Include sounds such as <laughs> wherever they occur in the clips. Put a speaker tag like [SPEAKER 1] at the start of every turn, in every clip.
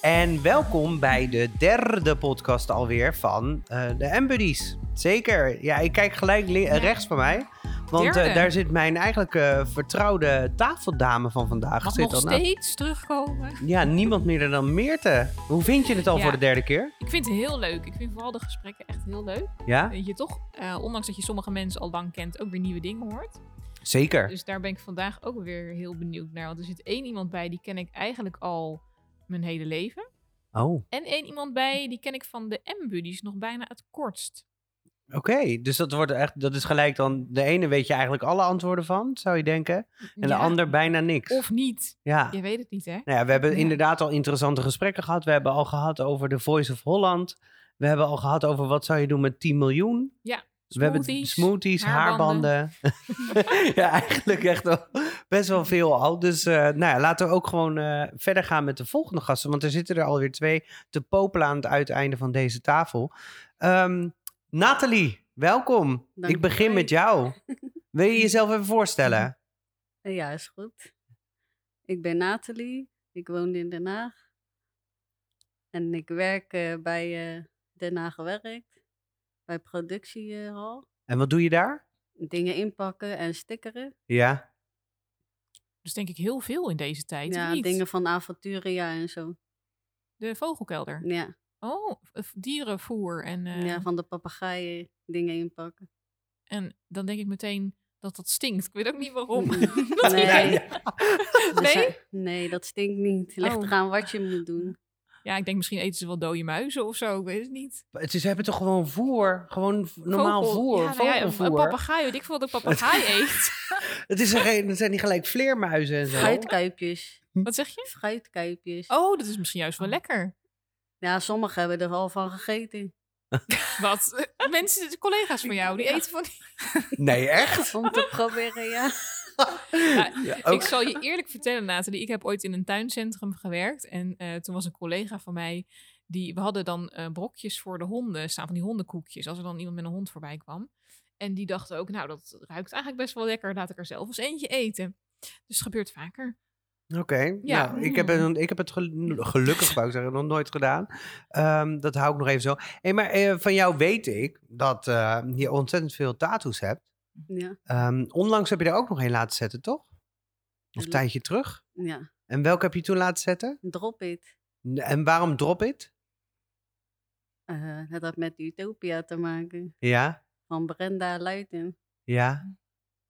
[SPEAKER 1] En welkom bij de derde podcast alweer van eh, de M-Buddies. Zeker. Ja, ik kijk gelijk li- eh, rechts van mij. Want eh,
[SPEAKER 2] Derde.
[SPEAKER 1] daar zit mijn eigenlijk eh, vertrouwde tafeldame van vandaag.
[SPEAKER 2] Mag
[SPEAKER 1] zit
[SPEAKER 2] nog
[SPEAKER 1] al na-
[SPEAKER 2] steeds terugkomen.
[SPEAKER 1] Ja, niemand minder dan Meerte. Hoe vind je het al
[SPEAKER 2] Ja.
[SPEAKER 1] voor de derde keer?
[SPEAKER 2] Ik vind het heel leuk. Ik vind vooral de gesprekken echt heel leuk.
[SPEAKER 1] Ja,
[SPEAKER 2] Dat je toch, eh, ondanks dat je sommige mensen al lang kent, ook weer nieuwe dingen hoort.
[SPEAKER 1] zeker.
[SPEAKER 2] Dus daar ben ik vandaag ook weer heel benieuwd naar. Want er zit één iemand bij, die ken ik eigenlijk al mijn hele leven.
[SPEAKER 1] Oh, oké.
[SPEAKER 2] En één iemand bij, die ken ik van de M-buddies nog bijna het kortst.
[SPEAKER 1] Dus dat, wordt echt, dat is gelijk dan... De ene weet je eigenlijk alle antwoorden van, zou je denken. En
[SPEAKER 2] Ja,
[SPEAKER 1] de ander bijna niks.
[SPEAKER 2] Of niet.
[SPEAKER 1] ja.
[SPEAKER 2] Je weet het niet, hè?
[SPEAKER 1] Nou ja, we hebben
[SPEAKER 2] Ja.
[SPEAKER 1] inderdaad al interessante gesprekken gehad. We hebben al gehad over de Voice of Holland. We hebben al gehad over wat zou je doen met 10 miljoen. we hebben
[SPEAKER 2] Smoothies.
[SPEAKER 1] smoothies, haarbanden.
[SPEAKER 2] haarbanden.
[SPEAKER 1] <laughs> ja, eigenlijk echt wel, best wel veel al. Dus eh, nou ja, laten we ook gewoon eh, verder gaan met de volgende gasten. Want er zitten er alweer twee te popelen aan het uiteinde van deze tafel. Ehm Nathalie, welkom.
[SPEAKER 3] Dank
[SPEAKER 1] Ik begin
[SPEAKER 3] je.
[SPEAKER 1] met jou. Wil je jezelf even voorstellen?
[SPEAKER 3] Eh, Ja, is goed. Ik ben Nathalie. Ik woon in Den Haag. En ik werk eh, bij eh Den Haag Werkt. Bij productiehal.
[SPEAKER 1] En wat doe je daar?
[SPEAKER 3] Dingen inpakken en stickeren.
[SPEAKER 1] Ja.
[SPEAKER 2] Dus denk ik heel veel in deze tijd.
[SPEAKER 3] ja,
[SPEAKER 2] of niet?
[SPEAKER 3] dingen van Avonturia en zo.
[SPEAKER 2] De vogelkelder.
[SPEAKER 3] Ja,
[SPEAKER 2] Oh, of dierenvoer en eh,
[SPEAKER 3] ja van de papegaaien dingen inpakken.
[SPEAKER 2] En dan denk ik meteen dat dat stinkt. Ik weet ook niet waarom.
[SPEAKER 3] Mm.
[SPEAKER 2] <laughs> Dat
[SPEAKER 3] Nee.
[SPEAKER 2] idee.
[SPEAKER 3] Er
[SPEAKER 2] Nee?
[SPEAKER 3] zijn- nee, dat stinkt niet. Ligt
[SPEAKER 2] Oh.
[SPEAKER 3] eraan wat je moet
[SPEAKER 2] <laughs>
[SPEAKER 3] doen.
[SPEAKER 2] Ja, ik denk misschien eten ze wel dode muizen of zo. Ik weet het niet.
[SPEAKER 1] Maar Ze ze hebben toch gewoon voer? Gewoon v- normaal
[SPEAKER 2] Vogel-
[SPEAKER 1] voer,
[SPEAKER 2] Ja, nou ja, een-
[SPEAKER 1] vogelvoer.
[SPEAKER 2] een papegaai. Weet ik veel wat
[SPEAKER 1] <laughs>
[SPEAKER 2] een papegaai eet.
[SPEAKER 1] het, is er geen, het zijn niet gelijk vleermuizen en zo.
[SPEAKER 3] Fruitkuipjes.
[SPEAKER 2] Wat zeg je?
[SPEAKER 3] Fruitkuipjes.
[SPEAKER 2] Oh, dat is misschien juist wel lekker.
[SPEAKER 3] Ja, sommigen hebben er al van gegeten. <laughs>
[SPEAKER 2] Wat? Mensen, collega's van jou, die
[SPEAKER 3] Ja.
[SPEAKER 2] eten van...
[SPEAKER 1] Nee,
[SPEAKER 3] <laughs>
[SPEAKER 1] echt?
[SPEAKER 3] Om te proberen, ja.
[SPEAKER 1] Ja,
[SPEAKER 2] Ik
[SPEAKER 1] ook.
[SPEAKER 2] zal je eerlijk vertellen, Nathalie. Ik heb ooit in een tuincentrum gewerkt. En eh, toen was een collega van mij... Die, we hadden dan eh, brokjes voor de honden staan, van die hondenkoekjes. Als er dan iemand met een hond voorbij kwam. En die dacht ook, nou, dat ruikt eigenlijk best wel lekker. Laat ik er zelf eens eentje eten. Dus het gebeurt vaker.
[SPEAKER 1] Oké,
[SPEAKER 2] Ja.
[SPEAKER 1] nou, ik heb, het- ik heb het gel- gelukkig, wou ik zeggen, nog nooit gedaan. Ehm, dat hou ik nog even zo. Hey, maar eh, van jou weet ik dat eh, je ontzettend veel tattoos hebt.
[SPEAKER 3] Ja,
[SPEAKER 1] Ehm, onlangs heb je er ook nog een laten zetten, toch? Of een
[SPEAKER 3] Ja.
[SPEAKER 1] tijdje terug.
[SPEAKER 3] ja.
[SPEAKER 1] En welke heb je toen laten zetten?
[SPEAKER 3] Drop it.
[SPEAKER 1] N- En waarom drop it?
[SPEAKER 3] Eh, dat had met Utopia te maken.
[SPEAKER 1] Ja,
[SPEAKER 3] Van Brenda Luiten.
[SPEAKER 1] ja,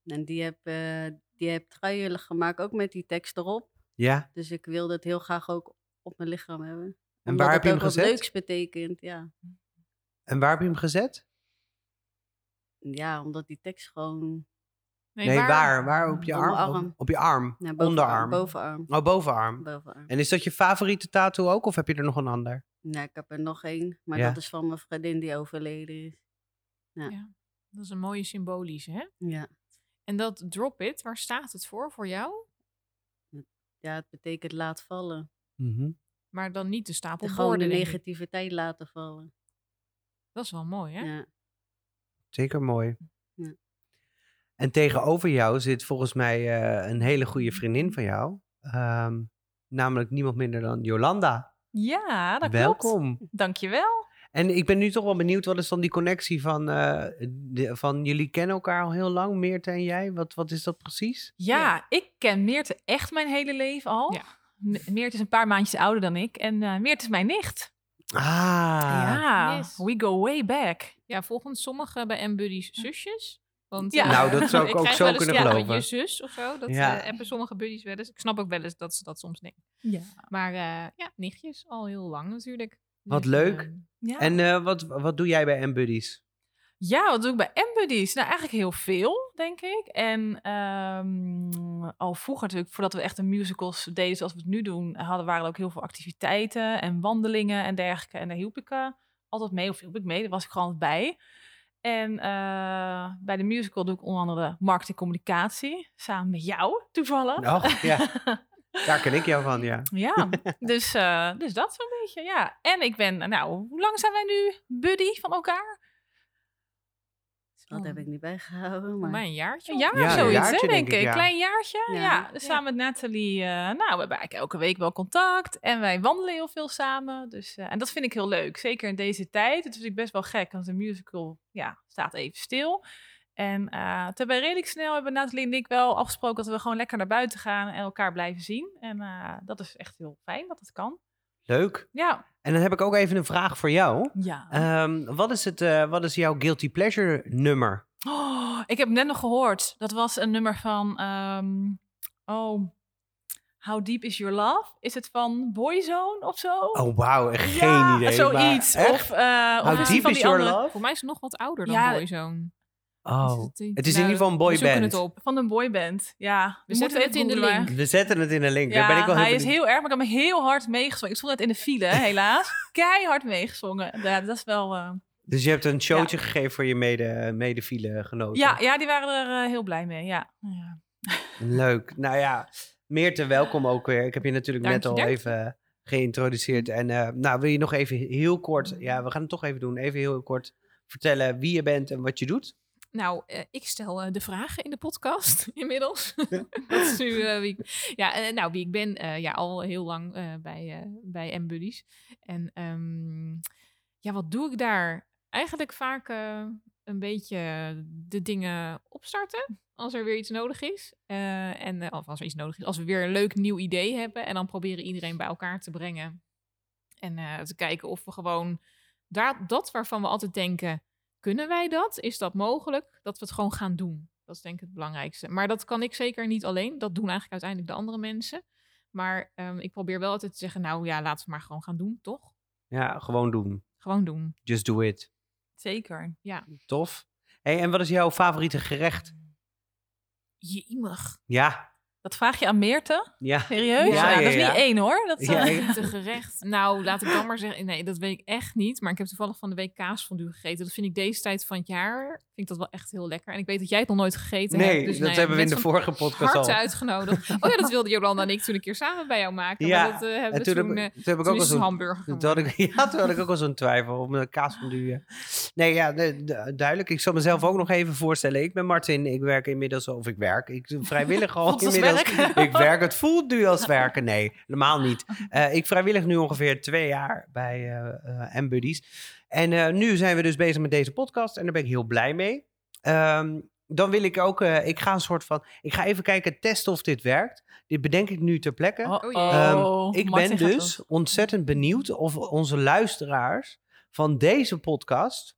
[SPEAKER 3] En die heb, eh die heb truien gemaakt, ook met die tekst erop.
[SPEAKER 1] ja.
[SPEAKER 3] Dus ik wil dat heel graag ook op mijn lichaam hebben.
[SPEAKER 1] En
[SPEAKER 3] Omdat
[SPEAKER 1] waar heb
[SPEAKER 3] het
[SPEAKER 1] je hem
[SPEAKER 3] ook wat
[SPEAKER 1] gezet?
[SPEAKER 3] leuks betekent, ja.
[SPEAKER 1] En waar heb je hem gezet?
[SPEAKER 3] Ja, omdat die tekst gewoon
[SPEAKER 2] Nee,
[SPEAKER 1] Nee, waar? waar? op je
[SPEAKER 3] Op
[SPEAKER 1] arm?
[SPEAKER 3] mijn
[SPEAKER 1] Op-
[SPEAKER 3] Oh, arm.
[SPEAKER 1] Op, je arm.
[SPEAKER 3] naar bovenarm.
[SPEAKER 1] Onderarm.
[SPEAKER 3] Bovenarm.
[SPEAKER 1] Oh, bovenarm.
[SPEAKER 3] bovenarm.
[SPEAKER 1] En is dat je favoriete tattoo ook, of heb je er nog een ander?
[SPEAKER 3] Nou, ik heb er nog één, maar
[SPEAKER 1] Ja.
[SPEAKER 3] dat is van mijn vriendin die overleden is.
[SPEAKER 2] Dat is een mooie symbolische, hè?
[SPEAKER 3] Ja.
[SPEAKER 2] En dat drop it, waar staat het voor voor jou?
[SPEAKER 3] ja, het betekent laat vallen.
[SPEAKER 2] Mhm. Maar dan niet de stapel
[SPEAKER 3] Gewoon de
[SPEAKER 2] woorden. denk ik.
[SPEAKER 3] negativiteit laten vallen.
[SPEAKER 2] Dat is wel mooi, hè?
[SPEAKER 3] Ja.
[SPEAKER 1] Zeker mooi.
[SPEAKER 3] Ja.
[SPEAKER 1] En tegenover jou zit volgens mij eh, een hele goede vriendin van jou. Ehm, namelijk niemand minder dan Jolanda.
[SPEAKER 2] Ja, dat klopt.
[SPEAKER 1] Welkom.
[SPEAKER 2] Dankjewel.
[SPEAKER 1] En ik ben nu toch wel benieuwd, wat is dan die connectie van, eh, de- van jullie kennen elkaar al heel lang, Meerte en jij? Wat, wat is dat precies?
[SPEAKER 4] Ja,
[SPEAKER 2] Ja.
[SPEAKER 4] ik ken Meerte echt mijn hele leven al.
[SPEAKER 2] Ja.
[SPEAKER 4] Me- Meerte is een paar maandjes ouder dan ik en eh Meerte is mijn nicht.
[SPEAKER 1] Ah,
[SPEAKER 2] Ah.
[SPEAKER 4] ja,
[SPEAKER 2] yes.
[SPEAKER 4] we go way back.
[SPEAKER 2] Ja, volgens sommigen bij M-Buddies zusjes. Want,
[SPEAKER 4] Ja.
[SPEAKER 2] eh,
[SPEAKER 1] Nou, dat
[SPEAKER 2] <laughs>
[SPEAKER 1] zou ik ook
[SPEAKER 2] krijg
[SPEAKER 1] zo
[SPEAKER 2] wel eens
[SPEAKER 1] kunnen
[SPEAKER 2] vragen,
[SPEAKER 1] geloven.
[SPEAKER 2] Je zus of zo, dat
[SPEAKER 1] Ja.
[SPEAKER 2] eh, appen sommige buddies wel eens. Ik snap ook wel eens dat ze dat soms denken.
[SPEAKER 4] Ja.
[SPEAKER 2] Maar eh, ja, nichtjes al heel lang natuurlijk.
[SPEAKER 1] Wat
[SPEAKER 2] Dus,
[SPEAKER 1] leuk.
[SPEAKER 2] eh,
[SPEAKER 4] Ja.
[SPEAKER 1] En eh, wat, wat doe jij bij M-Buddies?
[SPEAKER 4] ja, wat doe ik bij M-Buddies? Nou, eigenlijk heel veel, denk ik. En ehm, al vroeger natuurlijk, voordat we echt de musicals deden zoals we het nu doen, hadden, waren er ook heel veel activiteiten en wandelingen en dergelijke. En daar hielp ik eh, altijd mee, of hielp ik mee, daar was ik gewoon bij. En eh, bij de musical doe ik onder andere marketing communicatie, samen met jou, toevallig.
[SPEAKER 1] Och,
[SPEAKER 2] Oh.
[SPEAKER 1] ja.
[SPEAKER 4] <laughs>
[SPEAKER 1] Daar ken ik jou van, ja. <laughs>
[SPEAKER 4] Ja, dus, eh, dus dat zo'n beetje, ja. En ik ben, nou, hoe lang zijn wij nu buddy van elkaar?
[SPEAKER 3] dus Dat heb ik niet bijgehouden.
[SPEAKER 2] Oh. Voor
[SPEAKER 3] Maar
[SPEAKER 2] mij een jaartje.
[SPEAKER 4] Een
[SPEAKER 2] of
[SPEAKER 4] jaar
[SPEAKER 1] Ja,
[SPEAKER 4] of
[SPEAKER 1] een
[SPEAKER 4] zoiets,
[SPEAKER 1] jaartje,
[SPEAKER 4] hè,
[SPEAKER 1] denk
[SPEAKER 4] denk
[SPEAKER 1] ik,
[SPEAKER 4] ik.
[SPEAKER 1] ja.
[SPEAKER 4] Klein jaartje.
[SPEAKER 3] Ja.
[SPEAKER 4] Ja, Dus samen met Nathalie. eh, nou, we hebben eigenlijk elke week wel contact. En wij wandelen heel veel samen. Dus, eh, en dat vind ik heel leuk. Zeker in deze tijd. Het is natuurlijk best wel gek, want de musical ja, staat even stil. En eh toen hebben we redelijk snel hebben Nathalie en ik wel afgesproken dat we gewoon lekker naar buiten gaan en elkaar blijven zien. En eh, dat is echt heel fijn dat het kan.
[SPEAKER 1] Leuk.
[SPEAKER 4] Ja.
[SPEAKER 1] En dan heb ik ook even een vraag voor jou.
[SPEAKER 4] ja.
[SPEAKER 1] Ehm, wat, is het, eh, wat is jouw guilty pleasure nummer?
[SPEAKER 4] Oh, ik heb net nog gehoord. Dat was een nummer van. ehm, oh. How Deep Is Your Love? Is het van Boyzone of zo?
[SPEAKER 1] Oh, wauw. Geen
[SPEAKER 4] Ja,
[SPEAKER 1] idee.
[SPEAKER 4] Zoiets.
[SPEAKER 1] maar echt?
[SPEAKER 4] Of, eh of
[SPEAKER 1] How
[SPEAKER 4] is
[SPEAKER 2] deep
[SPEAKER 4] die van
[SPEAKER 1] is
[SPEAKER 4] die
[SPEAKER 1] your
[SPEAKER 4] andere-
[SPEAKER 1] love?
[SPEAKER 2] Voor mij is het nog wat ouder dan
[SPEAKER 4] Ja.
[SPEAKER 2] Boyzone.
[SPEAKER 1] Oh.
[SPEAKER 2] Dus het,
[SPEAKER 1] Het is in ieder geval een
[SPEAKER 2] We zoeken
[SPEAKER 1] boyband.
[SPEAKER 2] het op.
[SPEAKER 4] Van een boyband. Ja.
[SPEAKER 2] We zetten het in de
[SPEAKER 4] googlen.
[SPEAKER 2] link.
[SPEAKER 1] We zetten het in een link.
[SPEAKER 4] Ja,
[SPEAKER 1] Daar ben ik wel
[SPEAKER 4] hij
[SPEAKER 1] heel
[SPEAKER 4] is
[SPEAKER 1] benieuwd.
[SPEAKER 4] heel erg, maar ik heb hem heel hard meegezongen. Ik stond net in de
[SPEAKER 1] <laughs>
[SPEAKER 4] file, helaas. Keihard meegezongen. Ja, dat is wel... eh,
[SPEAKER 1] Dus je hebt een showtje gegeven voor je mede, medeviele genoten.
[SPEAKER 4] Ja, ja, die waren er eh, heel blij mee, ja. ja.
[SPEAKER 1] Leuk. Nou ja, Meerte, welkom ook weer. Ik heb je natuurlijk net
[SPEAKER 2] Dank
[SPEAKER 1] al
[SPEAKER 2] je, dank
[SPEAKER 1] even geïntroduceerd. En eh, nou, wil je nog even heel
[SPEAKER 4] Mm.
[SPEAKER 1] kort... Ja, we gaan het toch even doen. Even heel kort vertellen wie je bent en wat je doet.
[SPEAKER 2] Nou, eh, ik stel eh, de vragen in de podcast <laughs> inmiddels. dat is nu eh, wie ik, ja, eh, nou, wie ik ben, eh, ja, al heel lang eh, bij, eh, bij M-Buddies. En ehm, ja, wat doe ik daar? Eigenlijk vaak eh, een beetje de dingen opstarten als er weer iets nodig is. Eh, en, eh, of als er iets nodig is, als we weer een leuk nieuw idee hebben. En dan proberen iedereen bij elkaar te brengen. En eh, te kijken of we gewoon daar, dat waarvan we altijd denken kunnen wij dat? Is dat mogelijk? Dat we het gewoon gaan doen. Dat is denk ik het belangrijkste. Maar dat kan ik zeker niet alleen. Dat doen eigenlijk uiteindelijk de andere mensen. Maar ehm, ik probeer wel altijd te zeggen, nou ja, laten we maar gewoon gaan doen, toch?
[SPEAKER 1] Ja, gewoon doen.
[SPEAKER 2] Gewoon doen.
[SPEAKER 1] Just do it.
[SPEAKER 4] Zeker.
[SPEAKER 1] Tof. Hey, en wat is jouw favoriete gerecht?
[SPEAKER 2] <laughs> Jemig.
[SPEAKER 1] Ja,
[SPEAKER 4] Dat vraag je aan Meerte?
[SPEAKER 1] ja.
[SPEAKER 4] Serieus?
[SPEAKER 1] Ja,
[SPEAKER 4] Ja,
[SPEAKER 1] ja,
[SPEAKER 4] dat is
[SPEAKER 1] ja.
[SPEAKER 4] niet één hoor. Dat,
[SPEAKER 1] Ja,
[SPEAKER 4] eh, <laughs>
[SPEAKER 1] ik-
[SPEAKER 2] Te gerecht. Nou, laat ik dan maar zeggen. Nee, dat weet ik echt niet. Maar ik heb toevallig van de week kaasfondue gegeten. Dat vind ik deze tijd van het jaar, vind ik dat wel echt heel lekker. En ik weet dat jij het nog nooit gegeten
[SPEAKER 1] Nee,
[SPEAKER 2] hebt. Dus,
[SPEAKER 1] dat
[SPEAKER 2] nou ja,
[SPEAKER 1] hebben we in de
[SPEAKER 2] bent van
[SPEAKER 1] vorige podcast al.
[SPEAKER 2] harte uitgenodigd. Oh ja, dat wilde Jolanda en ik toen een keer samen bij jou maken.
[SPEAKER 1] Ja,
[SPEAKER 2] maar dat eh, hebben
[SPEAKER 1] En
[SPEAKER 2] we
[SPEAKER 1] toen,
[SPEAKER 2] toen... eh,
[SPEAKER 1] heb, toen heb ik ook
[SPEAKER 2] toen is
[SPEAKER 1] al
[SPEAKER 2] het een
[SPEAKER 1] zo'n...
[SPEAKER 2] hamburger
[SPEAKER 1] Toen had
[SPEAKER 2] geworden.
[SPEAKER 1] ik, <laughs> ja, toen had ik ook al zo'n twijfel om een kaas van duwen. Nee, ja, nee, du- duidelijk. Ik zal mezelf ook nog even voorstellen. Ik ben Martin. Ik werk inmiddels, of ik werk, ik doe
[SPEAKER 2] <laughs>
[SPEAKER 1] vrijwillig al
[SPEAKER 4] Voelt als
[SPEAKER 1] inmiddels.
[SPEAKER 4] werk.
[SPEAKER 1] Ik werk, het voelt nu als werken. Nee, helemaal niet. Eh, ik vrijwillig nu ongeveer twee jaar bij eh eh M-Buddies. En eh, nu zijn we dus bezig met deze podcast en daar ben ik heel blij mee. Ehm, dan wil ik ook, eh, ik ga een soort van, ik ga even kijken, testen of dit werkt. Dit bedenk ik nu ter plekke.
[SPEAKER 4] Oh,
[SPEAKER 2] Ehm,
[SPEAKER 4] oh.
[SPEAKER 1] Ik
[SPEAKER 4] Martin
[SPEAKER 1] ben
[SPEAKER 4] gaat
[SPEAKER 1] dus ontzettend benieuwd of onze luisteraars van deze podcast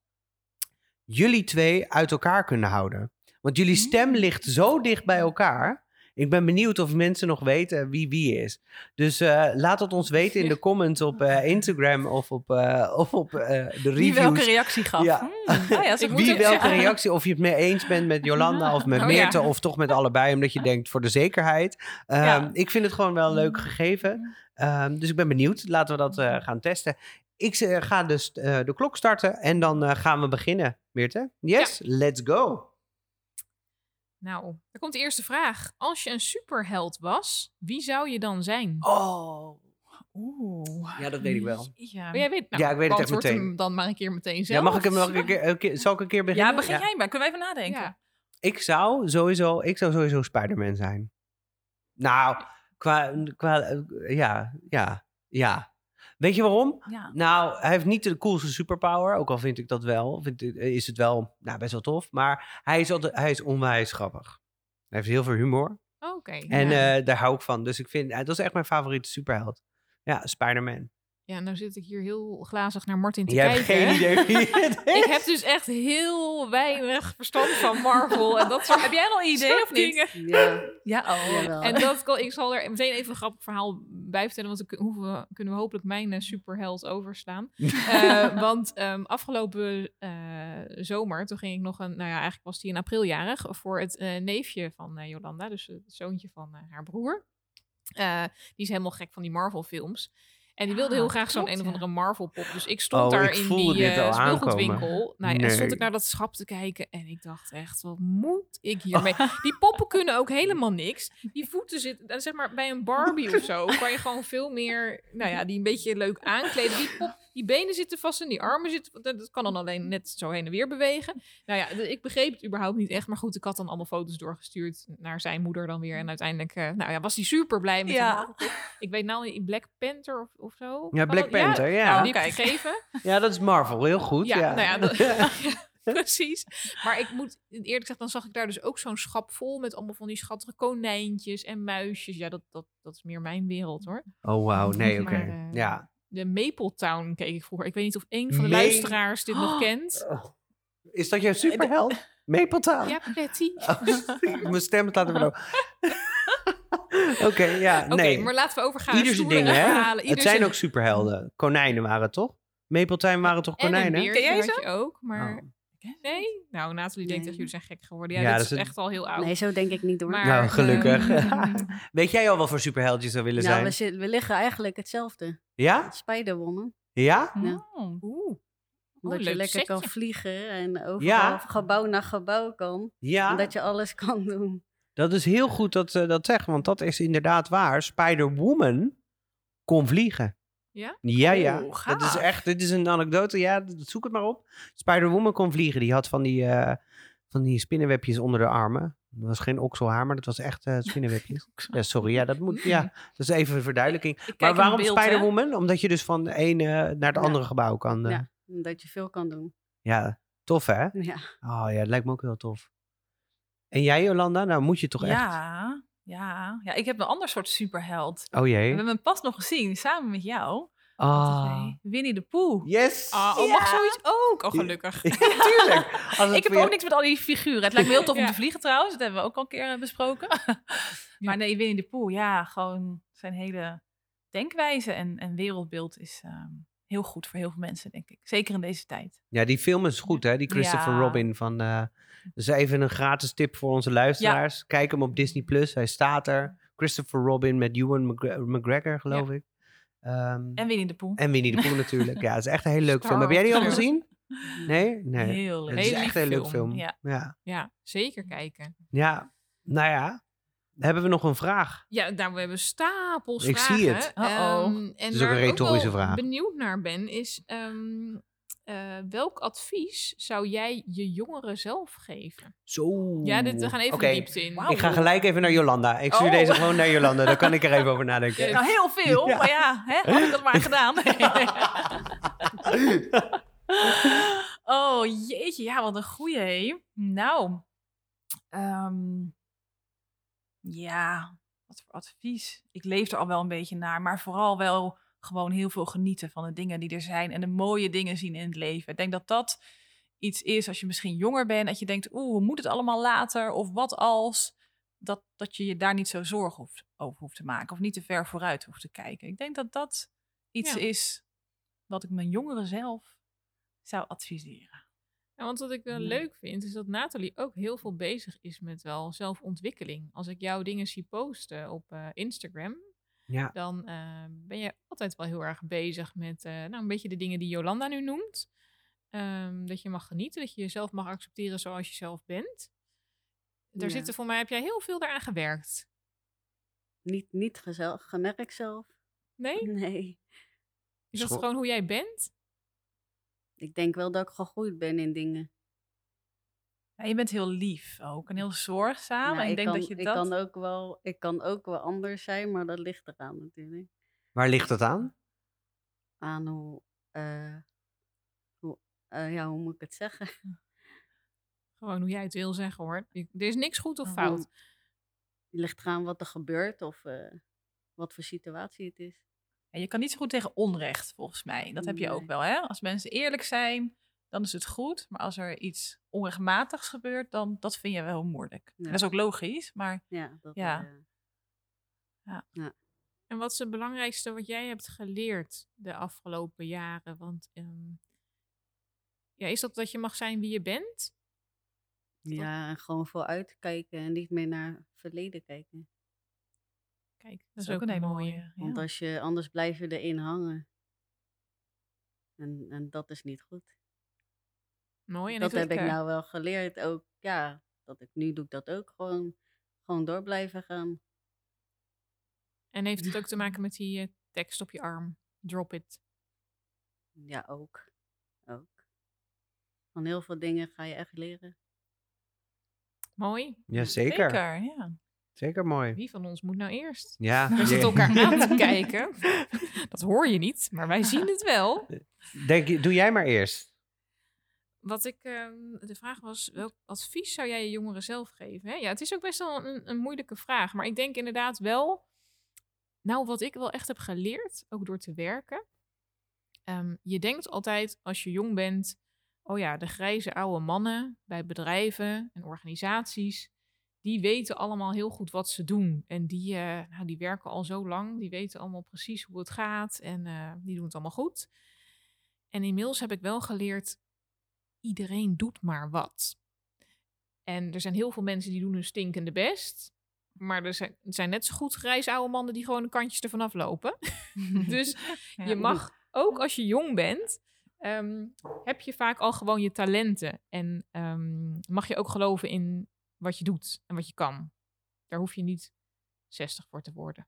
[SPEAKER 1] jullie twee uit elkaar kunnen houden. Want
[SPEAKER 4] Hmm.
[SPEAKER 1] jullie stem ligt zo dicht bij elkaar. Ik ben benieuwd of mensen nog weten wie wie is. Dus eh, laat het ons weten
[SPEAKER 4] <laughs>
[SPEAKER 1] in de comments op eh, Instagram of op, eh, of op eh, de
[SPEAKER 4] Wie welke
[SPEAKER 1] reviews.
[SPEAKER 4] reactie gaf.
[SPEAKER 1] Ja.
[SPEAKER 4] Hmm. Ah ja, ze
[SPEAKER 2] Ik
[SPEAKER 4] moeten-
[SPEAKER 1] <laughs> Wie welke
[SPEAKER 4] ja.
[SPEAKER 1] reactie, of je het mee eens bent met Jolanda of met
[SPEAKER 2] Oh ja.
[SPEAKER 1] Meerte of toch met allebei, omdat je denkt voor de zekerheid. Ehm,
[SPEAKER 4] Ja. Mm.
[SPEAKER 1] Ik vind het gewoon wel leuk gegeven. Ehm, dus ik ben benieuwd. Laten we dat eh, gaan testen. Ik eh, ga dus eh, de klok starten en dan eh, gaan we beginnen. Meerte? Yes, let's go.
[SPEAKER 2] Nou, daar komt de eerste vraag. Als je een superheld was, wie zou je dan zijn?
[SPEAKER 4] <laughs> Oh. Oeh.
[SPEAKER 1] Ja, dat weet ik wel.
[SPEAKER 4] Ja,
[SPEAKER 2] Oh, jij weet, nou,
[SPEAKER 1] Ja, ik weet het echt
[SPEAKER 2] beantwoord hem
[SPEAKER 1] meteen.
[SPEAKER 2] dan maar een keer meteen zelf.
[SPEAKER 1] Ja, mag ik hem nog een keer, een keer- zal ik een keer beginnen?
[SPEAKER 4] Ja, begin jij maar. Kunnen we even nadenken?
[SPEAKER 2] Ja.
[SPEAKER 1] Ik zou sowieso, ik zou sowieso Spider-Man zijn. Nou, qua, qua eh, ja, ja, ja. Weet je waarom?
[SPEAKER 4] Ja.
[SPEAKER 1] Nou, hij heeft niet de coolste superpower, ook al vind ik dat wel. Vind ik- is het wel nou, best wel tof, maar hij is, altijd, hij is onwijs grappig. Hij heeft heel veel humor.
[SPEAKER 2] Oh, Oké.
[SPEAKER 1] En
[SPEAKER 2] ja.
[SPEAKER 1] eh, daar hou ik van. Dus ik vind, eh, dat is echt mijn favoriete superheld. Ja, Spider-Man.
[SPEAKER 2] ja, nou zit ik hier heel glazig naar Martin te
[SPEAKER 1] Jij hebt
[SPEAKER 2] kijken.
[SPEAKER 1] geen idee wie het is.
[SPEAKER 2] <laughs> Ik heb dus echt heel weinig verstand van Marvel
[SPEAKER 1] <laughs>
[SPEAKER 2] en dat soort
[SPEAKER 4] Heb jij nog een idee of
[SPEAKER 2] soort
[SPEAKER 4] niet?
[SPEAKER 2] dingen.
[SPEAKER 3] Ja,
[SPEAKER 2] <laughs>
[SPEAKER 4] Ja, oh.
[SPEAKER 3] jawel.
[SPEAKER 2] En dat kan, ik zal er meteen even een grappig verhaal bij vertellen, want dan kun- hoeven we- kunnen we hopelijk mijn eh, superheld
[SPEAKER 1] <laughs>
[SPEAKER 2] overslaan. Eh, want ehm, afgelopen eh, zomer, toen ging ik nog een, nou ja, eigenlijk was die in april jarig, voor het eh, neefje van eh, Jolanda, dus het zoontje van eh, haar broer. Eh, die is helemaal gek van die Marvel-films. En die wilde
[SPEAKER 4] Ah,
[SPEAKER 2] heel graag zo'n
[SPEAKER 4] klopt,
[SPEAKER 2] een of
[SPEAKER 4] ja.
[SPEAKER 2] andere Marvel-pop. Dus ik stond
[SPEAKER 1] Oh,
[SPEAKER 2] daar
[SPEAKER 1] ik
[SPEAKER 2] in
[SPEAKER 1] voelde
[SPEAKER 2] die
[SPEAKER 1] dit al
[SPEAKER 2] eh speelgoedwinkel.
[SPEAKER 1] aankomen.
[SPEAKER 2] Nou, ja, En stond
[SPEAKER 1] Nee.
[SPEAKER 2] ik naar dat schap te kijken. En ik dacht echt, wat moet
[SPEAKER 1] <laughs>
[SPEAKER 2] ik hiermee? Die poppen kunnen ook helemaal niks. Die voeten zitten, eh, zeg maar bij een Barbie of zo, kan je gewoon veel meer, nou ja, die een beetje leuk aankleden. Die pop Die benen zitten vast en die armen zitten... eh, Dat dat kan dan alleen net zo heen en weer bewegen. Nou ja, de- ik begreep het überhaupt niet echt. Maar goed, ik had dan allemaal foto's doorgestuurd naar zijn moeder dan weer. En uiteindelijk eh, nou ja, was hij super blij met
[SPEAKER 4] Ja.
[SPEAKER 2] ja. Ik weet nou in Black Panther of, of zo.
[SPEAKER 1] Ja,
[SPEAKER 2] Kan
[SPEAKER 1] Black
[SPEAKER 2] dat? Ja,
[SPEAKER 1] Panther, ja.
[SPEAKER 2] nou,
[SPEAKER 1] Ja,
[SPEAKER 4] nou,
[SPEAKER 2] die heb ik
[SPEAKER 4] kijk.
[SPEAKER 2] gegeven.
[SPEAKER 1] dat is Marvel, heel goed. Ja,
[SPEAKER 2] Ja, nou ja, dat- ja, <laughs> precies. Maar ik moet eerlijk gezegd, dan zag ik daar dus ook zo'n schap vol met allemaal van die schattige konijntjes en muisjes. Ja, dat, dat, dat is meer mijn wereld hoor.
[SPEAKER 1] <laughs> Oh, wauw, nee, oké.
[SPEAKER 2] Maar, eh,
[SPEAKER 1] Ja.
[SPEAKER 2] De Maple Town keek ik vroeger. Ik weet niet of een van de
[SPEAKER 1] Me-
[SPEAKER 2] luisteraars
[SPEAKER 1] <gasps>
[SPEAKER 2] dit nog
[SPEAKER 4] Oh.
[SPEAKER 2] kent.
[SPEAKER 1] Is dat jouw
[SPEAKER 2] <laughs>
[SPEAKER 1] superheld? Mapletown?
[SPEAKER 2] Ja, Patty.
[SPEAKER 1] Oh, <laughs> Mijn stem staat er wel
[SPEAKER 2] <laughs>
[SPEAKER 1] op. <laughs> Oké, ja,
[SPEAKER 2] Oké,
[SPEAKER 1] nee.
[SPEAKER 2] maar laten we overgaan.
[SPEAKER 1] Ieder zijn
[SPEAKER 2] stoere
[SPEAKER 1] dingen, hè?
[SPEAKER 2] verhalen.
[SPEAKER 1] Het
[SPEAKER 2] Ieder
[SPEAKER 1] zijn
[SPEAKER 2] zijn-
[SPEAKER 1] ook superhelden. Konijnen waren het toch? Mapletown waren toch
[SPEAKER 2] En een
[SPEAKER 1] konijnen?
[SPEAKER 2] beertje
[SPEAKER 4] Ken jij
[SPEAKER 2] had je ook, maar...
[SPEAKER 1] Oh.
[SPEAKER 2] Nee? Nou, Nathalie denkt
[SPEAKER 3] Nee.
[SPEAKER 2] echt, jullie zijn gek geworden. Ja,
[SPEAKER 1] Ja,
[SPEAKER 2] dit
[SPEAKER 1] dat
[SPEAKER 2] is
[SPEAKER 1] is een-
[SPEAKER 2] echt al heel oud.
[SPEAKER 3] Nee, zo denk ik niet hoor.
[SPEAKER 2] Maar,
[SPEAKER 1] Nou,
[SPEAKER 2] eh,
[SPEAKER 1] gelukkig. <laughs> Weet jij al wel voor superheld je zou willen
[SPEAKER 3] nou, we,
[SPEAKER 1] zijn?
[SPEAKER 3] zit- we liggen eigenlijk hetzelfde.
[SPEAKER 1] Ja? Oh,
[SPEAKER 3] Spider-Woman.
[SPEAKER 1] Ja?
[SPEAKER 3] Ja.
[SPEAKER 4] Mm.
[SPEAKER 2] Oeh.
[SPEAKER 3] Omdat je
[SPEAKER 2] leuk
[SPEAKER 3] lekker kan
[SPEAKER 2] setje.
[SPEAKER 3] vliegen en overal
[SPEAKER 1] Ja.
[SPEAKER 3] gebouw naar gebouw kan.
[SPEAKER 1] Ja?
[SPEAKER 3] Omdat je alles kan doen.
[SPEAKER 1] Dat is heel goed dat ze dat zegt, want dat is inderdaad waar. Spider-Woman kon vliegen.
[SPEAKER 2] Ja?
[SPEAKER 1] Ja, ja.
[SPEAKER 4] Oeh,
[SPEAKER 1] dat is
[SPEAKER 4] gaaf.
[SPEAKER 1] echt, dit is een anekdote. Ja, d- zoek het maar op. Spider-Woman kon vliegen. Die had van die, eh, van die spinnenwebjes onder de armen. Dat was geen okselhaar, maar dat was echt eh,
[SPEAKER 4] <laughs>
[SPEAKER 1] spinnenwebjes. ja, sorry. Ja, dat moet. Ja, dat is even een verduidelijking.
[SPEAKER 4] Ik Hmm. kijk
[SPEAKER 1] Maar
[SPEAKER 4] een
[SPEAKER 1] waarom
[SPEAKER 4] beeld, hè?
[SPEAKER 1] Spider-Woman? Omdat je dus van de ene naar het
[SPEAKER 3] Ja.
[SPEAKER 1] andere gebouw kan. eh. ja.
[SPEAKER 3] Ja. Omdat je veel kan doen.
[SPEAKER 1] tof hè?
[SPEAKER 3] Ja.
[SPEAKER 1] Oh ja, dat lijkt me ook heel tof. En jij, Jolanda? Nou, moet je toch echt?
[SPEAKER 4] Ja, ja, ja. Ik heb een ander soort superheld.
[SPEAKER 1] Oh
[SPEAKER 4] We
[SPEAKER 1] jee.
[SPEAKER 4] hebben hem pas nog gezien, samen met jou. op
[SPEAKER 1] Ah.
[SPEAKER 4] tv. Winnie de Pooh.
[SPEAKER 1] Yes!
[SPEAKER 2] Ah, oh, mag zoiets ook? Oh,
[SPEAKER 1] Ja. <laughs>
[SPEAKER 2] gelukkig.
[SPEAKER 1] Tuurlijk. Als het
[SPEAKER 4] Ik heb
[SPEAKER 1] weer-
[SPEAKER 4] ook niks met al die figuren. Het lijkt me heel
[SPEAKER 1] <laughs>
[SPEAKER 4] tof om
[SPEAKER 2] Ja.
[SPEAKER 4] te vliegen trouwens. Dat hebben we ook al een keer eh, besproken. <laughs> maar nee, Winnie de Pooh, ja, gewoon zijn hele denkwijze en, en wereldbeeld is ehm, heel goed voor heel veel mensen, denk ik. Zeker in deze tijd.
[SPEAKER 1] Ja, die film is goed, hè? Die Christopher
[SPEAKER 4] Ja.
[SPEAKER 1] Robin van... eh, dus even een gratis tip voor onze luisteraars. Kijk hem op Disney+. Plus. Hij staat er. Christopher Robin met Ewan McGre- McGregor, geloof ik. Ehm, en,
[SPEAKER 4] En Winnie de Pooh.
[SPEAKER 1] Winnie de Pooh natuurlijk. Ja, het is echt een hele leuke film. Heb
[SPEAKER 2] Star
[SPEAKER 1] jij die al
[SPEAKER 2] Wars.
[SPEAKER 1] gezien? Nee? Nee.
[SPEAKER 4] Heel
[SPEAKER 1] Het
[SPEAKER 4] leuk.
[SPEAKER 1] is
[SPEAKER 2] Hele
[SPEAKER 1] echt
[SPEAKER 2] lieve
[SPEAKER 1] een leuk
[SPEAKER 2] film,
[SPEAKER 1] film.
[SPEAKER 4] ja.
[SPEAKER 1] Ja.
[SPEAKER 2] Ja, zeker kijken.
[SPEAKER 1] ja. Nou ja. Hebben we nog een vraag?
[SPEAKER 2] Ja, nou, we hebben stapels
[SPEAKER 1] Ik
[SPEAKER 2] vragen.
[SPEAKER 1] zie het.
[SPEAKER 4] Uh-oh.
[SPEAKER 2] Ehm, en
[SPEAKER 1] is ook
[SPEAKER 2] waar
[SPEAKER 1] een
[SPEAKER 2] ik
[SPEAKER 1] retorische
[SPEAKER 2] wel
[SPEAKER 1] vraag.
[SPEAKER 2] benieuwd naar ben, is... ehm, eh, welk advies zou jij je jongeren zelf geven?
[SPEAKER 1] Zo.
[SPEAKER 2] Ja, dit, we gaan even
[SPEAKER 1] Oké.
[SPEAKER 2] de diepte in.
[SPEAKER 4] Wauw.
[SPEAKER 1] Ik ga gelijk even naar Jolanda. Ik stuur
[SPEAKER 4] Oh.
[SPEAKER 1] deze gewoon naar Jolanda. Dan kan ik er even over nadenken.
[SPEAKER 4] Nou, heel veel,
[SPEAKER 1] Ja.
[SPEAKER 4] maar ja, hè, had ik dat maar gedaan. <laughs> oh, jeetje, ja, wat een goeie, hé. Nou, ehm, ja, wat voor advies. Ik leef er al wel een beetje naar, maar vooral wel gewoon heel veel genieten van de dingen die er zijn en de mooie dingen zien in het leven. Ik denk dat dat iets is als je misschien jonger bent, dat je denkt, oeh, hoe moet het allemaal later? Of wat als? Dat, dat je je daar niet zo zorgen hoeft, over hoeft te maken of niet te ver vooruit hoeft te kijken. Ik denk dat dat iets
[SPEAKER 2] Ja.
[SPEAKER 4] is wat ik mijn jongeren zelf zou adviseren.
[SPEAKER 2] Ja, want wat ik wel
[SPEAKER 1] Mm.
[SPEAKER 4] Ja.
[SPEAKER 2] leuk vind, is dat Nathalie ook heel veel bezig is met wel zelfontwikkeling. Als ik jouw dingen zie posten op eh, Instagram,
[SPEAKER 1] <laughs> Ja.
[SPEAKER 2] dan eh, ben je altijd wel heel erg bezig met eh, nou, een beetje de dingen die Jolanda nu noemt. Ehm, dat je mag genieten, dat je jezelf mag accepteren zoals je zelf bent. Daar
[SPEAKER 3] Ja.
[SPEAKER 2] zitten voor mij, heb jij heel veel daaraan gewerkt.
[SPEAKER 3] Niet, niet gezel- gemerkt zelf.
[SPEAKER 2] Nee?
[SPEAKER 3] Nee.
[SPEAKER 2] Is dat
[SPEAKER 1] Scho-
[SPEAKER 2] gewoon hoe jij bent?
[SPEAKER 3] Ik denk wel dat ik gegroeid ben in dingen.
[SPEAKER 4] Ja, je bent heel lief ook en heel
[SPEAKER 3] Nou,
[SPEAKER 4] zorgzaam. en Ah, ik, denk
[SPEAKER 3] kan,
[SPEAKER 4] dat je
[SPEAKER 3] ik
[SPEAKER 4] dat...
[SPEAKER 3] Kan ook wel, ik kan ook wel anders zijn, maar dat ligt eraan natuurlijk.
[SPEAKER 1] Waar ligt dat aan?
[SPEAKER 3] Aan hoe... eh, hoe eh, ja, hoe moet ik het zeggen?
[SPEAKER 2] Gewoon hoe jij het wil zeggen hoor. Ik- Er is niks goed of
[SPEAKER 4] Oh.
[SPEAKER 1] Nou,
[SPEAKER 2] fout.
[SPEAKER 3] Het ligt eraan wat er gebeurt of eh, wat voor situatie het is.
[SPEAKER 4] En je kan niet zo goed tegen onrecht, volgens mij. Dat heb je ook
[SPEAKER 3] Nee.
[SPEAKER 4] wel, hè? Als mensen eerlijk zijn, dan is het goed. Maar als er iets onrechtmatigs gebeurt, dan dat vind je wel moeilijk. En
[SPEAKER 3] Ja.
[SPEAKER 4] Dat is ook logisch, maar
[SPEAKER 3] Ja, dat,
[SPEAKER 4] Ja.
[SPEAKER 3] eh,
[SPEAKER 2] En wat is het belangrijkste wat jij hebt geleerd de afgelopen jaren? Want ehm, ja, is dat dat je mag zijn wie je bent?
[SPEAKER 3] ja, en gewoon vooruit kijken en niet meer naar het verleden kijken.
[SPEAKER 2] Kijk, dat,
[SPEAKER 4] dat is ook een hele mooie.
[SPEAKER 3] Want
[SPEAKER 4] ja.
[SPEAKER 3] als je, anders blijf je erin hangen. En, en dat is niet goed.
[SPEAKER 2] Mooi. En
[SPEAKER 3] dat heb ik
[SPEAKER 2] natuurlijk, eh,
[SPEAKER 3] nou wel geleerd ook. Ja, dat ik nu doe ik dat ook gewoon. Gewoon door blijven gaan.
[SPEAKER 2] En heeft het ook te maken met die eh, tekst op je arm? Drop it.
[SPEAKER 3] Ja, ook. ook. Van heel veel dingen ga je echt leren. <laughs>
[SPEAKER 2] Mooi.
[SPEAKER 1] Jazeker. Zeker.
[SPEAKER 4] ja.
[SPEAKER 1] Zeker mooi.
[SPEAKER 2] Wie van ons moet nou eerst?
[SPEAKER 1] Ja.
[SPEAKER 2] Wij
[SPEAKER 1] je-
[SPEAKER 2] zitten elkaar aan
[SPEAKER 1] <laughs>
[SPEAKER 2] te kijken. Dat hoor je niet, maar wij zien het wel.
[SPEAKER 1] Denk, je- doe jij maar eerst.
[SPEAKER 2] Wat ik, ehm, de vraag was, welk advies zou jij je jongeren zelf geven? Hè? Ja, het is ook best wel een, een moeilijke vraag. Maar ik denk inderdaad wel, nou wat ik wel echt heb geleerd, ook door te werken. Ehm, je denkt altijd als je jong bent, oh ja, de grijze oude mannen bij bedrijven en organisaties, die weten allemaal heel goed wat ze doen. En die, eh, nou, die werken al zo lang, die weten allemaal precies hoe het gaat en eh, die doen het allemaal goed. En inmiddels heb ik wel geleerd, iedereen doet maar wat. En er zijn heel veel mensen die doen hun stinkende best. Maar er zijn, er zijn net zo goed grijs oude mannen die gewoon de kantjes ervan aflopen. Dus
[SPEAKER 4] <laughs> Ja.
[SPEAKER 2] je mag ook als je jong bent, ehm, heb je vaak al gewoon je talenten. En ehm, mag je ook geloven in wat je doet en wat je kan. Daar hoef je niet 60 voor te worden.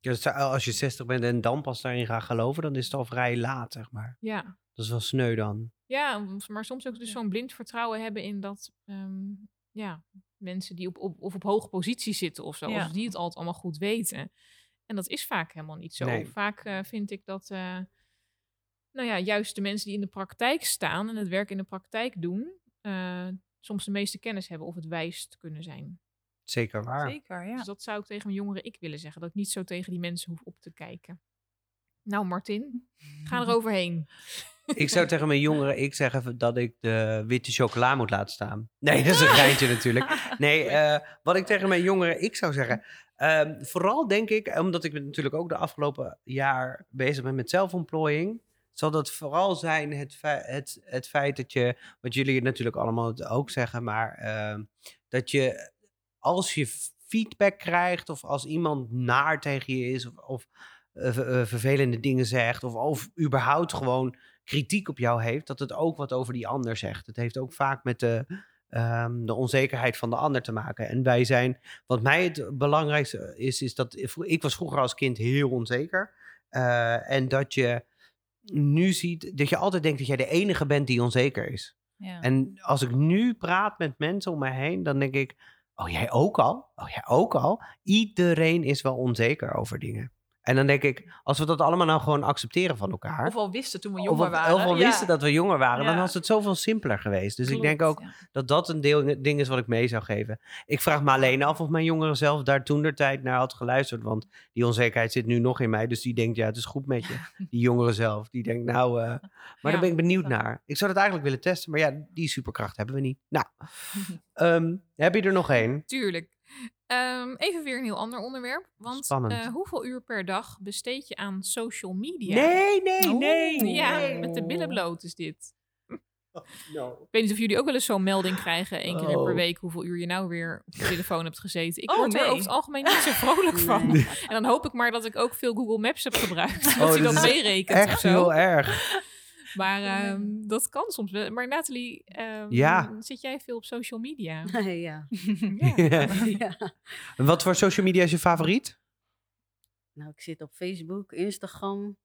[SPEAKER 1] Dus als je 60 bent en dan pas daarin gaat geloven, dan is het al vrij laat, zeg maar.
[SPEAKER 2] Ja,
[SPEAKER 1] Dat is wel sneu dan.
[SPEAKER 2] ja om- maar soms ook dus
[SPEAKER 4] Ja.
[SPEAKER 2] zo'n blind vertrouwen hebben in dat ehm, ja, mensen die op, op, of op hoge positie zitten of zo,
[SPEAKER 4] Ja.
[SPEAKER 2] of die het altijd allemaal goed weten. En dat is vaak helemaal niet zo.
[SPEAKER 1] Nee.
[SPEAKER 2] Vaak eh, vind ik dat, eh, nou ja, juist de mensen die in de praktijk staan en het werk in de praktijk doen, eh, soms de meeste kennis hebben of het wijst kunnen zijn.
[SPEAKER 1] Zeker waar.
[SPEAKER 4] Zeker, ja.
[SPEAKER 2] Dus dat zou ik tegen mijn jongeren ik willen zeggen, dat ik niet zo tegen die mensen hoef op te kijken. Nou,
[SPEAKER 4] <laughs>
[SPEAKER 2] Martin, ga er overheen.
[SPEAKER 1] Ik zou tegen mijn jongeren ik zeggen dat ik de witte chocola moet laten staan. Nee,
[SPEAKER 4] <laughs>
[SPEAKER 1] dat is een geintje natuurlijk. Nee, eh, wat ik tegen mijn jongeren ik zou zeggen. ehm, vooral denk ik, omdat ik natuurlijk ook de afgelopen jaar bezig ben met zelfontplooiing. Zal dat vooral zijn het, fe- het, het feit dat je, wat jullie natuurlijk allemaal het ook zeggen, maar ehm, dat je als je feedback krijgt of als iemand naar tegen je is of, of eh, ver- eh, vervelende dingen zegt of, of überhaupt gewoon kritiek op jou heeft, dat het ook wat over die ander zegt. Het heeft ook vaak met de, ehm, de onzekerheid van de ander te maken. En wij zijn, wat mij het belangrijkste is, is dat ik- ik was vroeger als kind heel onzeker. Eh, en dat je nu ziet, dat je altijd denkt dat jij de enige bent die onzeker is.
[SPEAKER 4] Ja.
[SPEAKER 1] En als ik nu praat met mensen om mij heen, dan denk ik, oh jij ook al? Oh jij ook al? Iedereen is wel onzeker over dingen. En dan denk ik, als we dat allemaal nou gewoon accepteren van elkaar.
[SPEAKER 4] Of al wisten toen we
[SPEAKER 1] Of
[SPEAKER 4] jonger
[SPEAKER 1] we-
[SPEAKER 4] waren.
[SPEAKER 1] Of we
[SPEAKER 4] Ja,
[SPEAKER 1] wisten dat we jonger waren, dan
[SPEAKER 4] Ja.
[SPEAKER 1] was het zoveel simpeler geweest. Dus ik denk
[SPEAKER 4] klopt,
[SPEAKER 1] ook
[SPEAKER 4] ja.
[SPEAKER 1] dat dat een deel, ding is wat ik mee zou geven. Ik vraag me alleen af of mijn jongeren zelf daar toen der tijd naar had geluisterd. Want die onzekerheid zit nu nog in mij. Dus die denkt, ja, het is goed met
[SPEAKER 3] <laughs>
[SPEAKER 1] je. Die jongeren zelf. Die denkt, nou, eh, maar daar ben ik benieuwd
[SPEAKER 4] dat-
[SPEAKER 1] naar. Ik zou dat eigenlijk willen testen, maar ja, die superkracht hebben we niet.
[SPEAKER 3] <laughs>
[SPEAKER 1] Nou, ehm, heb je er nog één?
[SPEAKER 2] Tuurlijk. Ehm, even weer een heel ander onderwerp. Want
[SPEAKER 1] Spannend.
[SPEAKER 2] eh, hoeveel uur per dag besteed je aan social media?
[SPEAKER 1] Nee, nee,
[SPEAKER 4] Oeh.
[SPEAKER 1] nee.
[SPEAKER 4] Oh,
[SPEAKER 2] Ja,
[SPEAKER 1] nee.
[SPEAKER 2] met de billen bloot is dit.
[SPEAKER 1] No.
[SPEAKER 2] Ik weet niet of jullie ook wel eens zo'n melding krijgen, één keer
[SPEAKER 1] Oh.
[SPEAKER 2] per week, hoeveel uur je nou weer op de telefoon hebt gezeten. Ik
[SPEAKER 4] Oh,
[SPEAKER 2] word er
[SPEAKER 4] nee.
[SPEAKER 2] over het algemeen niet zo vrolijk van.
[SPEAKER 3] Nee.
[SPEAKER 2] En dan hoop ik maar dat ik ook veel Google Maps heb gebruikt, dat
[SPEAKER 1] Oh,
[SPEAKER 2] hij
[SPEAKER 1] dit
[SPEAKER 2] dat
[SPEAKER 1] is
[SPEAKER 2] meerekent of
[SPEAKER 1] Echt
[SPEAKER 2] zo.
[SPEAKER 1] heel erg.
[SPEAKER 2] Maar ehm, dat kan soms wel. Maar Nathalie, ehm,
[SPEAKER 1] Ja.
[SPEAKER 2] zit jij veel op social
[SPEAKER 1] <laughs>
[SPEAKER 2] media?
[SPEAKER 3] <laughs> ja. ja.
[SPEAKER 1] Wat voor social media is je favoriet?
[SPEAKER 3] Nou, ik zit op Facebook, Instagram.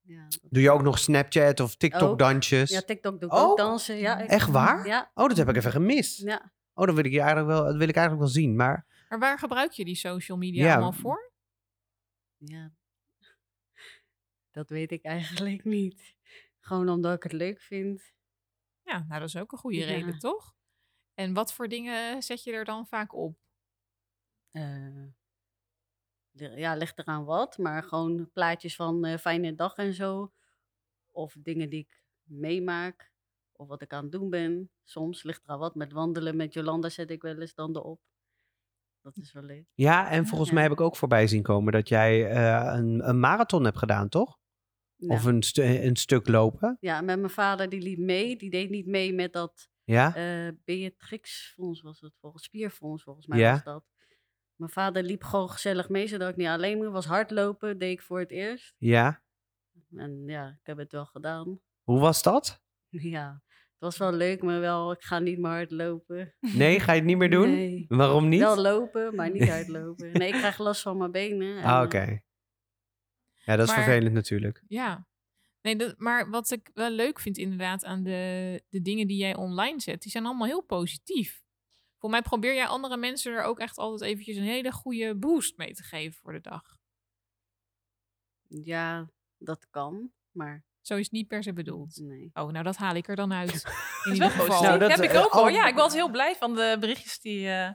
[SPEAKER 3] Ja, dat-
[SPEAKER 1] Doe je ook nog Snapchat of TikTok-dansjes?
[SPEAKER 3] Oh. ja TikTok doe ik
[SPEAKER 1] Oh,
[SPEAKER 3] ook dansen. Ja, ik-
[SPEAKER 1] echt waar?
[SPEAKER 3] Ja,
[SPEAKER 1] Oh, dat heb ik even gemist.
[SPEAKER 3] ja.
[SPEAKER 1] Oh, dat wil ik je eigenlijk wel, dat wil ik eigenlijk wel zien. Maar
[SPEAKER 2] Maar waar gebruik je die social media
[SPEAKER 1] Ja.
[SPEAKER 2] allemaal voor?
[SPEAKER 3] ja. <laughs> Dat weet ik eigenlijk niet. Gewoon omdat ik het leuk vind.
[SPEAKER 2] Ja, nou dat is ook een goede
[SPEAKER 3] Ja.
[SPEAKER 2] reden, toch? En wat voor dingen zet je er dan vaak op?
[SPEAKER 3] Eh, li- ja, ligt eraan wat. Maar gewoon plaatjes van eh, fijne dag en zo. Of dingen die ik meemaak. Of wat ik aan het doen ben. Soms ligt eraan wat. Met wandelen met Jolanda zet ik wel eens dan erop. Dat is wel leuk.
[SPEAKER 1] ja, en volgens
[SPEAKER 3] Ja.
[SPEAKER 1] mij heb ik ook voorbij zien komen dat jij eh, een, een marathon hebt gedaan, toch?
[SPEAKER 3] Ja.
[SPEAKER 1] Of een, stu- een stuk lopen.
[SPEAKER 3] Ja, met mijn vader die liep mee. Die deed niet mee met dat
[SPEAKER 1] Ja.
[SPEAKER 3] eh Beatrix Fonds was het volgens Spierfonds volgens mij
[SPEAKER 1] Ja.
[SPEAKER 3] was dat. Mijn vader liep gewoon gezellig mee, zodat ik niet alleen moest. Was hardlopen, deed ik voor het eerst.
[SPEAKER 1] ja.
[SPEAKER 3] En ja, ik heb het wel gedaan. <laughs>
[SPEAKER 1] Hoe was
[SPEAKER 4] <laughs>
[SPEAKER 1] dat?
[SPEAKER 3] Ja, het was wel leuk, maar wel, ik ga niet meer hardlopen.
[SPEAKER 1] Nee, ga je het niet meer doen?
[SPEAKER 3] Nee.
[SPEAKER 1] Waarom niet?
[SPEAKER 3] Wel lopen, maar
[SPEAKER 1] <laughs>
[SPEAKER 3] niet hardlopen. Nee, ik krijg last van mijn benen. en,
[SPEAKER 1] ah,
[SPEAKER 3] eh,
[SPEAKER 1] oké. Ja, dat is
[SPEAKER 2] Maar-
[SPEAKER 1] vervelend natuurlijk.
[SPEAKER 2] Ja. Nee, dat, maar wat ik wel leuk vind inderdaad aan de, de dingen die jij online zet, die zijn allemaal heel positief. Voor mij probeer jij andere mensen er ook echt altijd eventjes een hele goede boost mee te geven voor de dag.
[SPEAKER 3] Ja, dat kan, maar
[SPEAKER 2] Zo is het niet per se bedoeld.
[SPEAKER 3] nee.
[SPEAKER 2] Oh, nou dat haal ik er dan uit. In ieder
[SPEAKER 4] is wel
[SPEAKER 2] geval.
[SPEAKER 4] gepositief.
[SPEAKER 1] Nou, dat,
[SPEAKER 4] heb ik
[SPEAKER 1] eh,
[SPEAKER 4] ook hoor.
[SPEAKER 1] oh.
[SPEAKER 4] Ja, ik was heel blij van de berichtjes die eh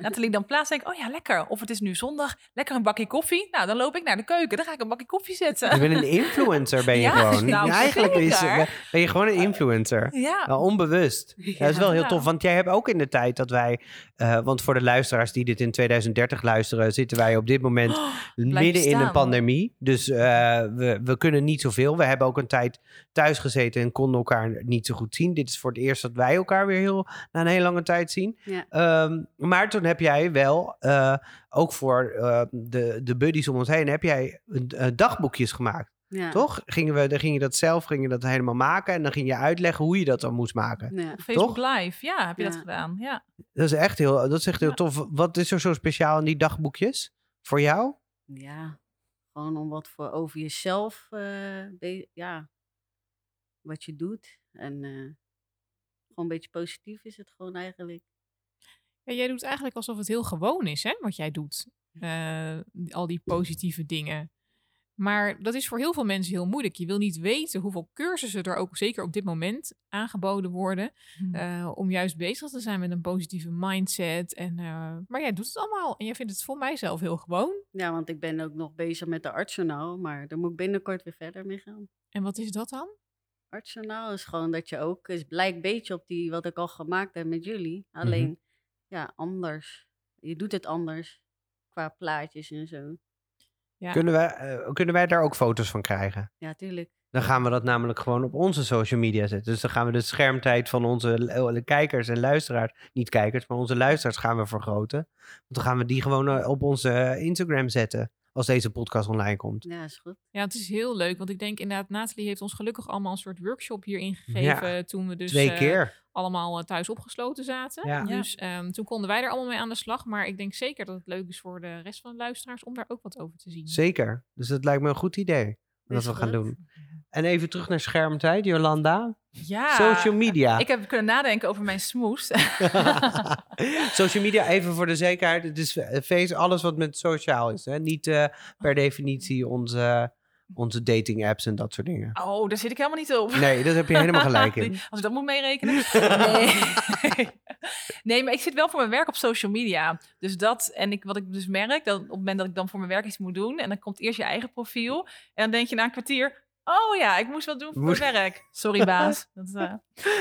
[SPEAKER 4] Nathalie dan plaatst. Denk ik, oh ja, lekker. Of het is nu zondag, lekker een bakje koffie. Nou, dan loop ik naar de keuken. Dan ga ik een bakje koffie zetten.
[SPEAKER 1] Je bent een
[SPEAKER 4] <laughs>
[SPEAKER 1] influencer, ben je
[SPEAKER 4] Ja,
[SPEAKER 1] gewoon.
[SPEAKER 4] <laughs> nou,
[SPEAKER 1] Ja, eigenlijk is, eh,
[SPEAKER 4] zeker.
[SPEAKER 1] ben je gewoon een influencer.
[SPEAKER 4] <laughs> Ja,
[SPEAKER 1] Wel onbewust. dat
[SPEAKER 3] <laughs>
[SPEAKER 1] is wel heel
[SPEAKER 4] ja.
[SPEAKER 1] tof. Want jij hebt ook in de tijd dat wij. eh, want voor de luisteraars die dit in 2030 luisteren, zitten wij op dit moment
[SPEAKER 4] Oh,
[SPEAKER 1] midden in een
[SPEAKER 4] staan.
[SPEAKER 1] pandemie. Dus eh, we, we kunnen niet zoveel. We hebben ook een tijd thuis gezeten en konden elkaar niet zo goed zien. Dit is voor het eerst dat wij elkaar weer heel, na een hele lange tijd zien.
[SPEAKER 3] Ja.
[SPEAKER 1] Ehm, maar toen heb jij wel, eh, ook voor eh, de, de buddies om ons heen, heb jij eh, dagboekjes gemaakt.
[SPEAKER 3] Ja.
[SPEAKER 1] Toch? Gingen we, dan ging je dat zelf ging je dat helemaal maken. En dan ging je uitleggen hoe je dat dan moest maken.
[SPEAKER 3] Ja.
[SPEAKER 4] Facebook
[SPEAKER 1] Toch?
[SPEAKER 4] Live. Ja, heb je dat
[SPEAKER 3] Ja.
[SPEAKER 4] gedaan? Ja.
[SPEAKER 1] Dat is echt heel, dat is echt heel
[SPEAKER 4] Ja.
[SPEAKER 1] tof. Wat is er zo speciaal aan die dagboekjes? Voor jou?
[SPEAKER 3] ja, gewoon om wat voor over jezelf, eh, be- ja, wat je doet. En eh, gewoon een beetje positief is het gewoon eigenlijk.
[SPEAKER 2] Ja, jij doet eigenlijk alsof het heel gewoon is, hè, wat jij doet.
[SPEAKER 1] Hm.
[SPEAKER 2] Eh, al die positieve dingen. Maar dat is voor heel veel mensen heel moeilijk. Je wil niet weten hoeveel cursussen er ook, zeker op dit moment, aangeboden worden. eh, om juist bezig te zijn met een positieve mindset. En, eh, maar jij doet het allemaal. En jij vindt het voor mijzelf heel gewoon.
[SPEAKER 3] Ja, want ik ben ook nog bezig met de artsenaal, maar daar moet ik binnenkort weer verder mee gaan.
[SPEAKER 2] En wat is dat dan?
[SPEAKER 3] Artsenaal is gewoon dat je ook, is blijkt een beetje op die wat ik al gemaakt heb met jullie.
[SPEAKER 1] Mhm.
[SPEAKER 3] Alleen, ja, anders. Je doet het anders qua plaatjes en zo.
[SPEAKER 2] Ja.
[SPEAKER 1] Kunnen, wij, eh, kunnen wij daar ook foto's van krijgen?
[SPEAKER 3] Ja, tuurlijk.
[SPEAKER 1] Dan gaan we dat namelijk gewoon op onze social media zetten. Dus dan gaan we de schermtijd van onze lu- kijkers en luisteraars, niet kijkers, maar onze luisteraars gaan we vergroten. Want dan gaan we die gewoon eh, op onze eh, Instagram zetten. Als deze podcast online komt.
[SPEAKER 3] Ja, is goed.
[SPEAKER 2] Ja, het is heel leuk. Want ik denk inderdaad, Nathalie heeft ons gelukkig allemaal een soort workshop hierin gegeven. Toen we dus
[SPEAKER 1] Twee
[SPEAKER 2] eh,
[SPEAKER 1] keer.
[SPEAKER 2] allemaal eh, thuis opgesloten zaten.
[SPEAKER 1] Ja.
[SPEAKER 4] Ja.
[SPEAKER 2] Dus ehm, toen konden wij er allemaal mee aan de slag. Maar ik denk zeker dat het leuk is voor de rest van de luisteraars om daar ook wat over te zien.
[SPEAKER 1] Zeker. Dus dat lijkt me een goed idee. Dat
[SPEAKER 3] Is
[SPEAKER 1] we gaan
[SPEAKER 3] goed.
[SPEAKER 1] doen. En even terug naar schermtijd, Jolanda.
[SPEAKER 4] ja.
[SPEAKER 1] Social media.
[SPEAKER 4] Ik heb kunnen nadenken over mijn
[SPEAKER 1] <laughs>
[SPEAKER 4] smoes. <laughs>
[SPEAKER 1] social media, even voor de zekerheid. Het is eh, feest, alles wat met sociaal is. Hè? Niet eh, per definitie onze, onze dating apps en dat soort dingen.
[SPEAKER 4] Oh, daar zit ik helemaal niet op.
[SPEAKER 1] Nee, dat heb je <laughs> helemaal gelijk in.
[SPEAKER 4] Die- Als ik dat moet
[SPEAKER 1] <laughs>
[SPEAKER 4] meerekenen. <laughs> Nee. <laughs> nee, maar ik zit wel voor mijn werk op social media. Dus dat, en ik, wat ik dus merk, dat op het moment dat ik dan voor mijn werk iets moet doen, en dan komt eerst je eigen profiel, en dan denk je na een kwartier, oh ja, ik moest wat doen voor
[SPEAKER 1] Moest-
[SPEAKER 4] mijn werk.
[SPEAKER 1] <laughs>
[SPEAKER 4] Sorry baas. Dat, eh,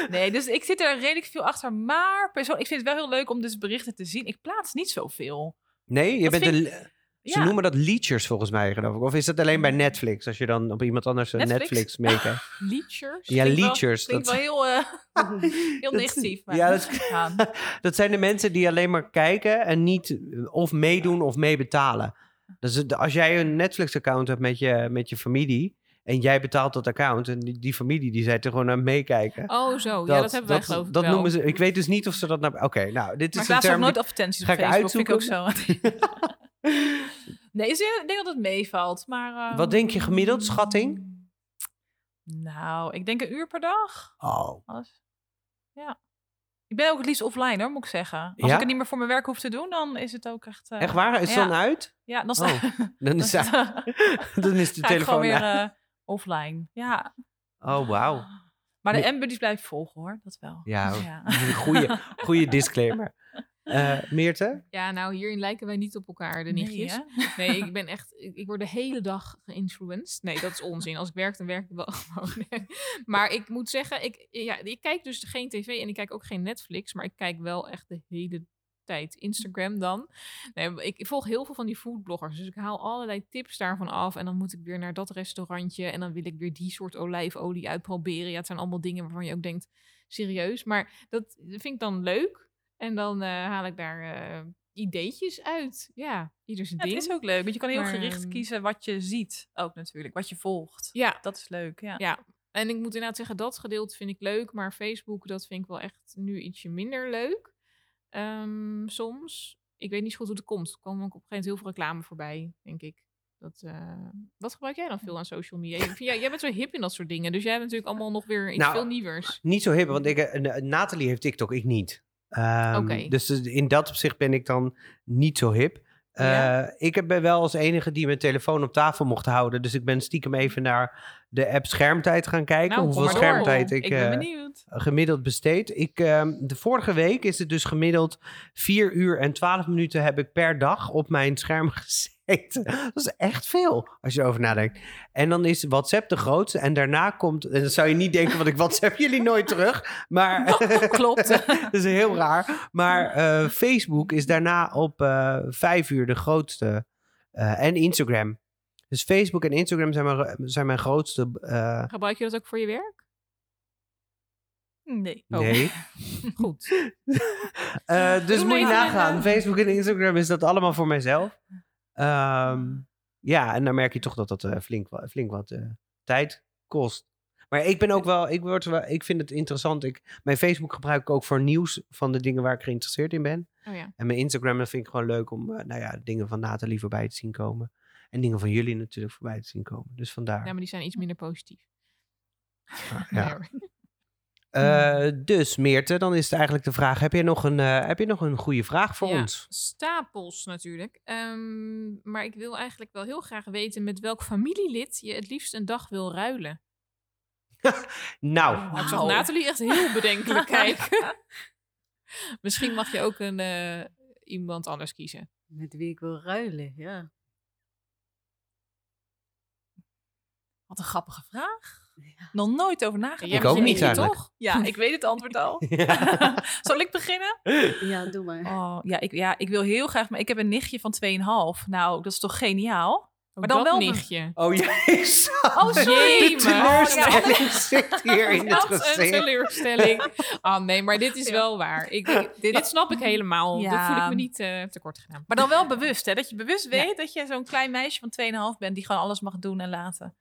[SPEAKER 4] Nee, dus ik zit er redelijk veel achter, maar persoon, ik vind het wel heel leuk om dus berichten te zien. Ik plaats niet zoveel.
[SPEAKER 1] Nee, je
[SPEAKER 4] Dat
[SPEAKER 1] bent
[SPEAKER 4] vind
[SPEAKER 1] een- ze noemen dat liedjes volgens mij, geloof ik. Of is dat alleen bij Netflix? Als je dan op iemand anders een
[SPEAKER 4] Mm.
[SPEAKER 1] Netflix
[SPEAKER 4] Netflix?
[SPEAKER 1] meekijkt.
[SPEAKER 2] Liedjes.
[SPEAKER 1] Ja,
[SPEAKER 4] Klinkt wel-
[SPEAKER 1] liedjes.
[SPEAKER 4] Klinkt
[SPEAKER 1] Dat,
[SPEAKER 4] wel heel, eh, <laughs> heel
[SPEAKER 1] <laughs> Dat-
[SPEAKER 4] negatief. Maar, <laughs>
[SPEAKER 1] ja, dat-
[SPEAKER 4] Ja.
[SPEAKER 1] dat zijn de mensen die alleen maar kijken en niet eh, of meedoen of meebetalen. Dus het- als jij een Netflix-account hebt met je, met je familie en jij betaalt dat account en die, die familie die zijn er gewoon aan het meekijken.
[SPEAKER 2] Oh, zo. ja, dat hebben wij geloof ik
[SPEAKER 1] dat
[SPEAKER 2] wel.
[SPEAKER 1] noemen ze. Ik weet dus niet of ze dat nou. Oké, nou, dit
[SPEAKER 4] Maar ik
[SPEAKER 1] is een
[SPEAKER 4] plaats ook
[SPEAKER 1] term. die-
[SPEAKER 4] nooit advertenties op
[SPEAKER 1] Ga ik
[SPEAKER 4] Facebook, vind ik ook zo. <laughs> nee, dus ik denk dat het meevalt. Maar, ehm,
[SPEAKER 1] Wat denk je gemiddeld, schatting?
[SPEAKER 4] Nou, ik denk een uur per dag.
[SPEAKER 1] Oh.
[SPEAKER 4] Alles. Ja. Ik ben ook het liefst offline hoor, moet ik zeggen. Als
[SPEAKER 1] Ja?
[SPEAKER 4] ik het niet meer voor mijn werk hoef te doen, dan is het ook echt... eh,
[SPEAKER 1] Echt waar? Is het
[SPEAKER 4] ja.
[SPEAKER 1] dan uit?
[SPEAKER 4] Ja, dan, sta,
[SPEAKER 1] Oh, <laughs> dan
[SPEAKER 2] <laughs>
[SPEAKER 4] dan
[SPEAKER 1] is, hij-
[SPEAKER 4] sta- <laughs>
[SPEAKER 1] <laughs> dan is de
[SPEAKER 4] ga ik
[SPEAKER 1] telefoon.
[SPEAKER 4] gewoon weer
[SPEAKER 1] uit.
[SPEAKER 4] eh, offline. Ja.
[SPEAKER 1] Oh,
[SPEAKER 2] <laughs>
[SPEAKER 1] wauw.
[SPEAKER 4] Maar de
[SPEAKER 1] Nee.
[SPEAKER 4] Embodies blijft volgen hoor, dat wel.
[SPEAKER 1] Ja,
[SPEAKER 4] <laughs>
[SPEAKER 1] Goeie, goeie disclaimer. Eh Meerte?
[SPEAKER 2] Ja, nou, hierin lijken wij niet op elkaar, de
[SPEAKER 4] Nee,
[SPEAKER 2] nichtjes.
[SPEAKER 4] hè?
[SPEAKER 2] Nee, ik ben echt... Ik, ik word de hele dag geïnfluenced. Nee, dat is onzin. Als ik werk, dan werk ik wel <laughs> gewoon. maar ik moet zeggen, ik, ja, ik kijk dus geen tv en ik kijk ook geen Netflix. Maar ik kijk wel echt de hele tijd Instagram dan. Nee, maar ik, ik volg heel veel van die foodbloggers. Dus ik haal allerlei tips daarvan af. En dan moet ik weer naar dat restaurantje. En dan wil ik weer die soort olijfolie uitproberen. Ja, het zijn allemaal dingen waarvan je ook denkt, serieus. Maar dat vind ik dan leuk. En dan eh, haal ik daar eh, ideetjes uit. Ja, ieder zijn
[SPEAKER 4] Ja,
[SPEAKER 2] ding.
[SPEAKER 4] het is ook leuk, want je kan heel
[SPEAKER 2] Maar,
[SPEAKER 4] gericht
[SPEAKER 2] ehm,
[SPEAKER 4] kiezen wat je ziet ook natuurlijk, wat je volgt.
[SPEAKER 2] Ja,
[SPEAKER 4] Dat is leuk, ja.
[SPEAKER 2] Ja, en ik moet inderdaad zeggen, dat gedeelte vind ik leuk. Maar Facebook, dat vind ik wel echt nu ietsje minder leuk. Ehm, soms. Ik weet niet zo goed hoe het komt. Er kwam ook op een gegeven moment heel veel reclame voorbij, denk ik. Dat, eh, wat gebruik jij dan veel aan social media? Ik vind- Ja, jij bent zo hip in dat soort dingen. Dus jij hebt natuurlijk allemaal nog weer iets
[SPEAKER 1] Nou,
[SPEAKER 2] veel nieuwers.
[SPEAKER 1] Niet zo hip, want ik, eh, eh, Nathalie heeft TikTok, ik niet. Ehm,
[SPEAKER 2] Oké.
[SPEAKER 1] Dus dus in dat opzicht ben ik dan niet zo hip. Eh,
[SPEAKER 2] Ja.
[SPEAKER 1] Ik heb- ben wel als enige die mijn telefoon op tafel mocht houden. Dus ik ben stiekem even naar de app schermtijd gaan kijken.
[SPEAKER 2] Nou,
[SPEAKER 1] hoeveel
[SPEAKER 2] kom maar door.
[SPEAKER 1] schermtijd ik,
[SPEAKER 4] Ik ben
[SPEAKER 1] eh,
[SPEAKER 4] benieuwd.
[SPEAKER 1] <laughs> gemiddeld besteed. Ik, ehm, de vorige week is het dus gemiddeld 4 uur en 12 minuten heb ik per dag op mijn scherm <laughs> gezeten. Dat is echt veel als je erover nadenkt. En dan is WhatsApp de grootste. En daarna komt, en dan zou je niet denken, want ik WhatsApp <laughs> jullie nooit terug. Maar
[SPEAKER 4] Klopt.
[SPEAKER 1] <laughs> dat is heel raar. Maar eh, Facebook is daarna op eh 5 uur de grootste. Eh, en Instagram. Dus Facebook en Instagram zijn mijn, zijn mijn grootste. eh,
[SPEAKER 2] Gebruik je dat ook voor je
[SPEAKER 1] <laughs>
[SPEAKER 2] werk?
[SPEAKER 4] <laughs> Nee.
[SPEAKER 2] Oh.
[SPEAKER 1] Nee.
[SPEAKER 2] Goed. <laughs>
[SPEAKER 1] Eh, dus
[SPEAKER 4] Doe
[SPEAKER 1] moet je
[SPEAKER 4] maar.
[SPEAKER 1] nagaan. Facebook en Instagram is dat allemaal voor mijzelf. Ehm, ja, en dan merk je toch dat dat eh, flink, wa- flink wat eh, tijd kost. Maar ik ben ook wel, ik, word wel, ik vind het interessant. Ik, mijn Facebook gebruik ik ook voor nieuws van de dingen waar ik geïnteresseerd in ben.
[SPEAKER 2] Oh ja.
[SPEAKER 1] En mijn Instagram dat vind ik gewoon leuk om eh, nou ja, dingen van Nathalie voorbij te zien komen. En dingen van jullie natuurlijk voorbij te zien komen. Dus vandaar.
[SPEAKER 2] ja, maar die zijn iets minder positief.
[SPEAKER 1] ja.
[SPEAKER 2] <laughs> Nee hoor.
[SPEAKER 1] Eh, dus Meerte, dan is het eigenlijk de vraag. Heb je nog een, eh, heb je nog een goede vraag voor
[SPEAKER 2] Ja,
[SPEAKER 1] ons?
[SPEAKER 2] Stapels natuurlijk. Ehm, maar ik wil eigenlijk wel heel graag weten met welk familielid je het liefst een dag wil ruilen.
[SPEAKER 1] Nou,
[SPEAKER 2] <laughs> Nou, ik zag
[SPEAKER 4] Wauw.
[SPEAKER 2] Nathalie echt heel bedenkelijk kijken. <laughs> Misschien mag je ook een, eh, iemand anders kiezen.
[SPEAKER 3] Met wie ik wil ruilen, ja.
[SPEAKER 4] Wat een grappige vraag. Nog nooit over nagedacht.
[SPEAKER 2] Jij
[SPEAKER 1] Ik
[SPEAKER 2] bent
[SPEAKER 1] ook
[SPEAKER 2] een
[SPEAKER 1] niet
[SPEAKER 2] indie,
[SPEAKER 1] eigenlijk.
[SPEAKER 2] toch?
[SPEAKER 4] Ja,
[SPEAKER 2] <laughs>
[SPEAKER 4] ik weet het antwoord al. Zal ik beginnen?
[SPEAKER 3] Ja, doe maar.
[SPEAKER 4] Oh, ja, ik, ja, ik wil heel graag, maar ik heb een nichtje van 2,5. Nou, dat is toch geniaal? Maar dan
[SPEAKER 2] dat
[SPEAKER 4] wel-
[SPEAKER 2] <laughs> nichtje.
[SPEAKER 1] Oh <laughs> jezus.
[SPEAKER 4] Oh, sorry.
[SPEAKER 1] De
[SPEAKER 2] Jemig.
[SPEAKER 1] teleurstelling zit hier in het
[SPEAKER 2] Wat een
[SPEAKER 1] gezicht.
[SPEAKER 2] teleurstelling. Ah nee, maar dit is
[SPEAKER 4] Ja.
[SPEAKER 2] wel waar. Ik, ik- dit, snap ik helemaal.
[SPEAKER 4] Ja.
[SPEAKER 2] Dat voel ik me niet eh, tekort gedaan.
[SPEAKER 4] Maar dan
[SPEAKER 2] <laughs>
[SPEAKER 4] wel bewust, hè? Dat je bewust weet dat je zo'n klein meisje van 2,5 bent die gewoon alles mag doen en laten.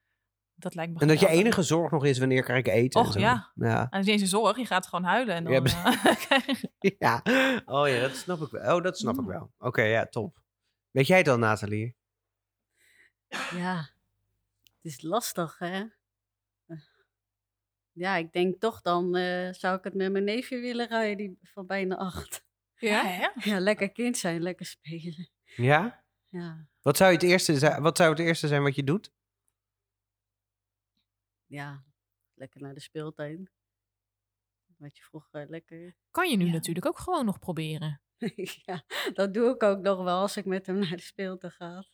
[SPEAKER 4] Dat lijkt me
[SPEAKER 1] En dat je
[SPEAKER 4] geweldig.
[SPEAKER 1] enige zorg nog is wanneer krijg ik eten. en
[SPEAKER 4] Och,
[SPEAKER 1] zo.
[SPEAKER 4] ja.
[SPEAKER 1] ja. <laughs>
[SPEAKER 4] En dat is niet eens een zorg, je gaat gewoon huilen. En dan,
[SPEAKER 1] Ja,
[SPEAKER 4] eh, <laughs> krijg je-
[SPEAKER 1] Ja. Oh ja, dat snap ik wel. Oh, dat snap
[SPEAKER 4] Mm.
[SPEAKER 1] ik wel. Oké, ja, top. Weet jij het al, Nathalie?
[SPEAKER 3] Ja, het is lastig, hè? Ja, ik denk toch dan eh, zou ik het met mijn neefje willen rijden, die van bijna acht. <laughs>
[SPEAKER 4] ja,
[SPEAKER 2] ja?
[SPEAKER 4] hè?
[SPEAKER 3] Ja, lekker kind zijn, lekker spelen.
[SPEAKER 1] Ja?
[SPEAKER 3] Ja,
[SPEAKER 1] Wat zou, het eerste zijn, wat zou het eerste zijn wat je doet?
[SPEAKER 3] ja lekker naar de speeltuin. Wat je vroeger eh, lekker... <laughs>
[SPEAKER 2] Kan je nu
[SPEAKER 3] Ja.
[SPEAKER 2] natuurlijk ook gewoon nog proberen.
[SPEAKER 3] ja, dat doe ik ook nog wel als ik met hem naar de speeltuin ga.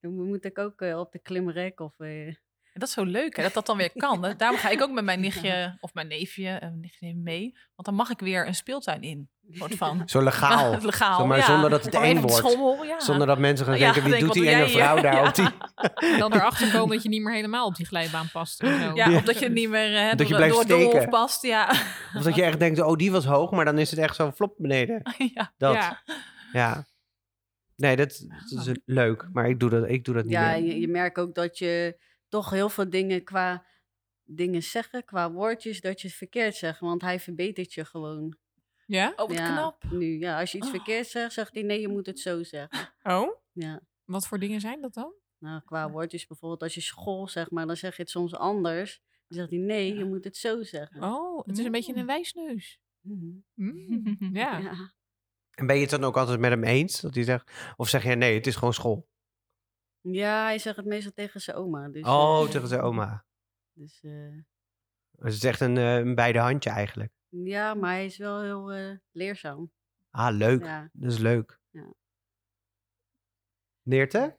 [SPEAKER 3] Dan mo- moet ik ook eh, op de klimrek of... eh,
[SPEAKER 4] En dat is zo leuk, hè? Dat dat dan weer kan. Hè? Daarom ga ik ook met mijn
[SPEAKER 3] Ja.
[SPEAKER 4] nichtje of mijn neefje, eh, mijn nichtje neemt mee. Want dan mag ik weer een speeltuin in. Wordt van.
[SPEAKER 1] Zo legaal.
[SPEAKER 4] <laughs> Legaal,
[SPEAKER 1] Zeg maar
[SPEAKER 4] ja.
[SPEAKER 1] zonder dat het
[SPEAKER 4] Gewoon
[SPEAKER 1] eng
[SPEAKER 4] even op
[SPEAKER 1] wordt.
[SPEAKER 4] schommel, ja.
[SPEAKER 1] Zonder dat mensen gaan
[SPEAKER 4] Ja,
[SPEAKER 1] denken, wie
[SPEAKER 4] denk,
[SPEAKER 1] doet
[SPEAKER 4] wat
[SPEAKER 1] die
[SPEAKER 4] doe jij
[SPEAKER 1] enge
[SPEAKER 4] hier?
[SPEAKER 1] vrouw daar
[SPEAKER 4] Ja.
[SPEAKER 1] op die... <laughs>
[SPEAKER 2] En dan erachter komen dat je niet meer helemaal op die glijbaan past. en zo. <laughs>
[SPEAKER 4] Ja,
[SPEAKER 1] Ja.
[SPEAKER 4] of dat je niet meer eh,
[SPEAKER 1] Dat
[SPEAKER 4] door,
[SPEAKER 1] je blijft
[SPEAKER 4] door het doolhof
[SPEAKER 1] steken.
[SPEAKER 4] past. Ja. <laughs>
[SPEAKER 1] Of dat je echt denkt, oh, die was hoog, maar dan is het echt zo flop beneden.
[SPEAKER 4] <laughs> ja.
[SPEAKER 1] Dat, ja.
[SPEAKER 2] Ja.
[SPEAKER 1] Nee, dat, dat is leuk, maar ik doe dat, ik doe dat niet
[SPEAKER 3] Ja,
[SPEAKER 1] meer.
[SPEAKER 3] je, je merkt ook dat je toch heel veel dingen qua dingen zeggen, qua woordjes, dat je het verkeerd zegt. Want hij verbetert je gewoon.
[SPEAKER 2] Ja?
[SPEAKER 4] Oh, wat
[SPEAKER 3] ja,
[SPEAKER 4] <laughs> knap.
[SPEAKER 3] Nu, ja, als je iets
[SPEAKER 4] Oh. Ah.
[SPEAKER 3] verkeerd zegt, zegt hij nee, je moet het zo zeggen.
[SPEAKER 2] Oh?
[SPEAKER 3] Ja.
[SPEAKER 2] Wat voor dingen zijn dat dan?
[SPEAKER 3] Nou, qua woordjes bijvoorbeeld, als je school zegt, maar dan zeg je het soms anders. Dan zegt hij nee, je moet het zo zeggen.
[SPEAKER 2] Oh, het is een beetje
[SPEAKER 4] Mm.
[SPEAKER 2] een wijsneus.
[SPEAKER 3] Mhm.
[SPEAKER 2] Mm. Ja.
[SPEAKER 3] Ja.
[SPEAKER 1] En ben je het dan ook altijd met hem eens? Dat hij zegt, of zeg je nee, het is gewoon school.
[SPEAKER 3] Ja, hij zegt het meestal tegen zijn oma. Dus, eh,
[SPEAKER 1] oh, tegen zijn oma.
[SPEAKER 3] Dus, eh,
[SPEAKER 1] Dus het is echt een, eh, een beide handje eigenlijk.
[SPEAKER 3] ja, maar hij is wel heel eh, leerzaam.
[SPEAKER 1] Ah, leuk.
[SPEAKER 3] Ja.
[SPEAKER 1] Dat is leuk.
[SPEAKER 3] Ja.
[SPEAKER 1] Neerte?
[SPEAKER 2] <laughs>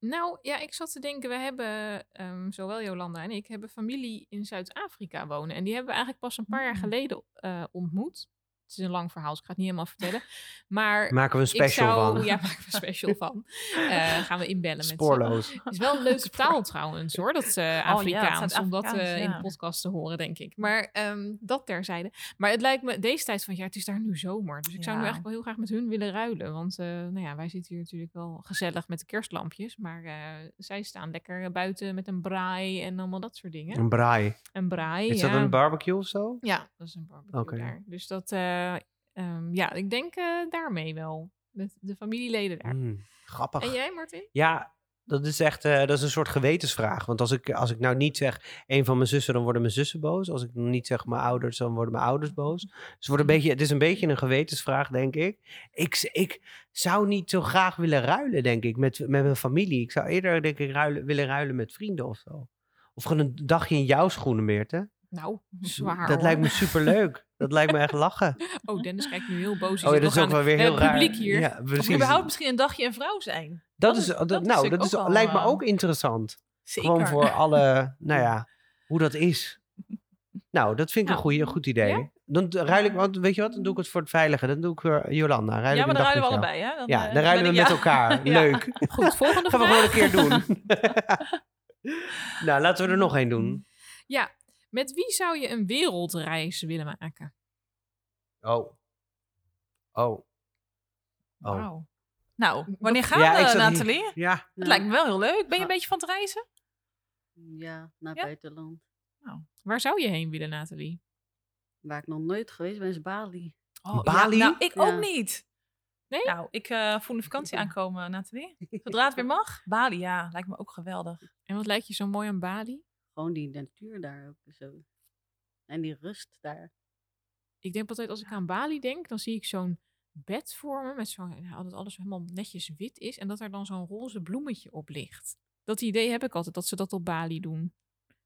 [SPEAKER 2] Nou ja, ik zat te denken, we hebben, ehm, zowel Jolanda en ik, hebben familie in Zuid-Afrika wonen. En die hebben we eigenlijk pas een paar jaar
[SPEAKER 4] Mm.
[SPEAKER 2] geleden eh, ontmoet. Het is een lang verhaal, dus ik ga het niet helemaal vertellen. Maar
[SPEAKER 1] Maken we een special
[SPEAKER 2] ik zou,
[SPEAKER 1] van.
[SPEAKER 2] Ja, maken we een special van. Eh, gaan we inbellen met ze.
[SPEAKER 1] Spoorloos.
[SPEAKER 2] Het is wel een
[SPEAKER 1] <laughs>
[SPEAKER 2] leuke taal trouwens hoor, dat
[SPEAKER 1] Oh
[SPEAKER 2] eh, Afrikaans. om dat
[SPEAKER 4] Zuid-Afrikaans,
[SPEAKER 2] eh, in
[SPEAKER 4] ja.
[SPEAKER 2] de podcast te horen, denk ik. Maar ehm, dat terzijde. Maar het lijkt me, deze tijd van het jaar, het is daar nu zomer. Dus ik zou nu
[SPEAKER 4] Ja.
[SPEAKER 2] eigenlijk wel heel graag met hun willen ruilen. Want eh, nou ja, wij zitten hier natuurlijk wel gezellig met de kerstlampjes. Maar eh, zij staan lekker buiten met een braai en allemaal dat soort dingen.
[SPEAKER 1] Een braai.
[SPEAKER 2] Een braai,
[SPEAKER 1] Is
[SPEAKER 2] ja.
[SPEAKER 1] dat een barbecue of zo?
[SPEAKER 2] Ja, dat is een barbecue
[SPEAKER 1] Oké.
[SPEAKER 2] daar. Dus dat, eh, ehm, ja, ik denk eh, daarmee wel. Met de familieleden daar.
[SPEAKER 1] Mm, grappig.
[SPEAKER 2] En jij, Martin?
[SPEAKER 1] Ja, Dat is echt eh, dat is een soort gewetensvraag. Want als ik, als ik nou niet zeg een van mijn zussen, dan worden mijn zussen boos. Als ik niet zeg mijn ouders, dan worden mijn ouders boos. Dus het, wordt
[SPEAKER 4] Hmm.
[SPEAKER 1] een beetje, het is een beetje een gewetensvraag, denk ik. ik. Ik zou niet zo graag willen ruilen, denk ik, met, met mijn familie. Ik zou eerder, denk ik, ruilen, willen ruilen met vrienden of zo. Of gewoon een dagje in jouw schoenen, Meerte. Dus
[SPEAKER 2] Nou, <laughs> zwaar.
[SPEAKER 1] Dat
[SPEAKER 2] hoor.
[SPEAKER 1] lijkt me superleuk. Dat lijkt me
[SPEAKER 4] <laughs>
[SPEAKER 1] echt lachen.
[SPEAKER 2] Oh, Dennis kijkt nu heel boos.
[SPEAKER 1] Oh ja, dat is ook wel weer heel raar.
[SPEAKER 2] publiek hier.
[SPEAKER 1] Ja,
[SPEAKER 4] Of
[SPEAKER 1] precies.
[SPEAKER 4] überhaupt misschien een dagje een vrouw zijn.
[SPEAKER 1] Dat
[SPEAKER 4] dat
[SPEAKER 1] is,
[SPEAKER 4] is-
[SPEAKER 1] dat,
[SPEAKER 4] dat is
[SPEAKER 1] nou, dat
[SPEAKER 4] natuurlijk
[SPEAKER 1] is,
[SPEAKER 4] ook wel,
[SPEAKER 1] lijkt me
[SPEAKER 4] eh,
[SPEAKER 1] ook interessant.
[SPEAKER 4] Zeker.
[SPEAKER 1] Gewoon voor
[SPEAKER 4] <laughs>
[SPEAKER 1] alle, nou ja, hoe dat is. Nou, dat vind ik
[SPEAKER 2] Nou,
[SPEAKER 1] een, goeie, een goed idee.
[SPEAKER 2] ja.
[SPEAKER 1] Dan d- ruil ik, want weet je wat, dan doe ik het voor het veilige. Dan doe ik eh, Jolanda. Ruil
[SPEAKER 4] ja,
[SPEAKER 1] ik
[SPEAKER 4] maar
[SPEAKER 1] een
[SPEAKER 4] dan
[SPEAKER 1] dag
[SPEAKER 4] ruilen we
[SPEAKER 1] met jou.
[SPEAKER 4] allebei, hè? Dan,
[SPEAKER 1] Ja,
[SPEAKER 4] eh,
[SPEAKER 1] dan ruilen
[SPEAKER 4] ben
[SPEAKER 1] we
[SPEAKER 4] ik-
[SPEAKER 1] met
[SPEAKER 4] ja.
[SPEAKER 1] elkaar.
[SPEAKER 4] <laughs> Ja.
[SPEAKER 1] Leuk.
[SPEAKER 2] Goed,
[SPEAKER 1] <laughs>
[SPEAKER 2] volgende
[SPEAKER 1] Gaan we
[SPEAKER 2] vraag.
[SPEAKER 1] gewoon een keer doen. <laughs> nou, laten we er nog één
[SPEAKER 4] Mm.
[SPEAKER 1] doen.
[SPEAKER 2] Ja, met wie zou je een wereldreis willen maken?
[SPEAKER 1] Oh. Oh. Oh.
[SPEAKER 2] Wauw.
[SPEAKER 4] Nou, wanneer gaan
[SPEAKER 1] Ja, ik zat
[SPEAKER 4] we,
[SPEAKER 1] hier.
[SPEAKER 4] Nathalie? Het
[SPEAKER 1] Ja.
[SPEAKER 3] Nou,
[SPEAKER 4] lijkt me wel heel leuk. Ben je een
[SPEAKER 3] Ah.
[SPEAKER 4] beetje van het reizen?
[SPEAKER 3] Ja, naar
[SPEAKER 4] Ja?
[SPEAKER 3] buitenland.
[SPEAKER 2] Waar zou je heen willen, Nathalie?
[SPEAKER 3] Waar ik nog nooit geweest ben, is Bali.
[SPEAKER 4] Oh,
[SPEAKER 1] Bali?
[SPEAKER 4] Ja, nou, ik
[SPEAKER 3] Ja.
[SPEAKER 4] ook niet.
[SPEAKER 2] Nee?
[SPEAKER 4] Nou, ik eh, voel de vakantie aankomen, <laughs> Nathalie. Zodra het weer mag. Bali, ja. Lijkt me ook geweldig.
[SPEAKER 2] En wat lijkt je zo mooi aan Bali?
[SPEAKER 3] Gewoon die natuur daar ook en zo. En die rust daar.
[SPEAKER 2] Ik denk altijd, als ik aan Bali denk, dan zie ik zo'n bed voor me. Met zo'n, nou, dat alles helemaal netjes wit is. En dat er dan zo'n roze bloemetje op ligt. Dat idee heb ik altijd, dat ze dat op Bali doen.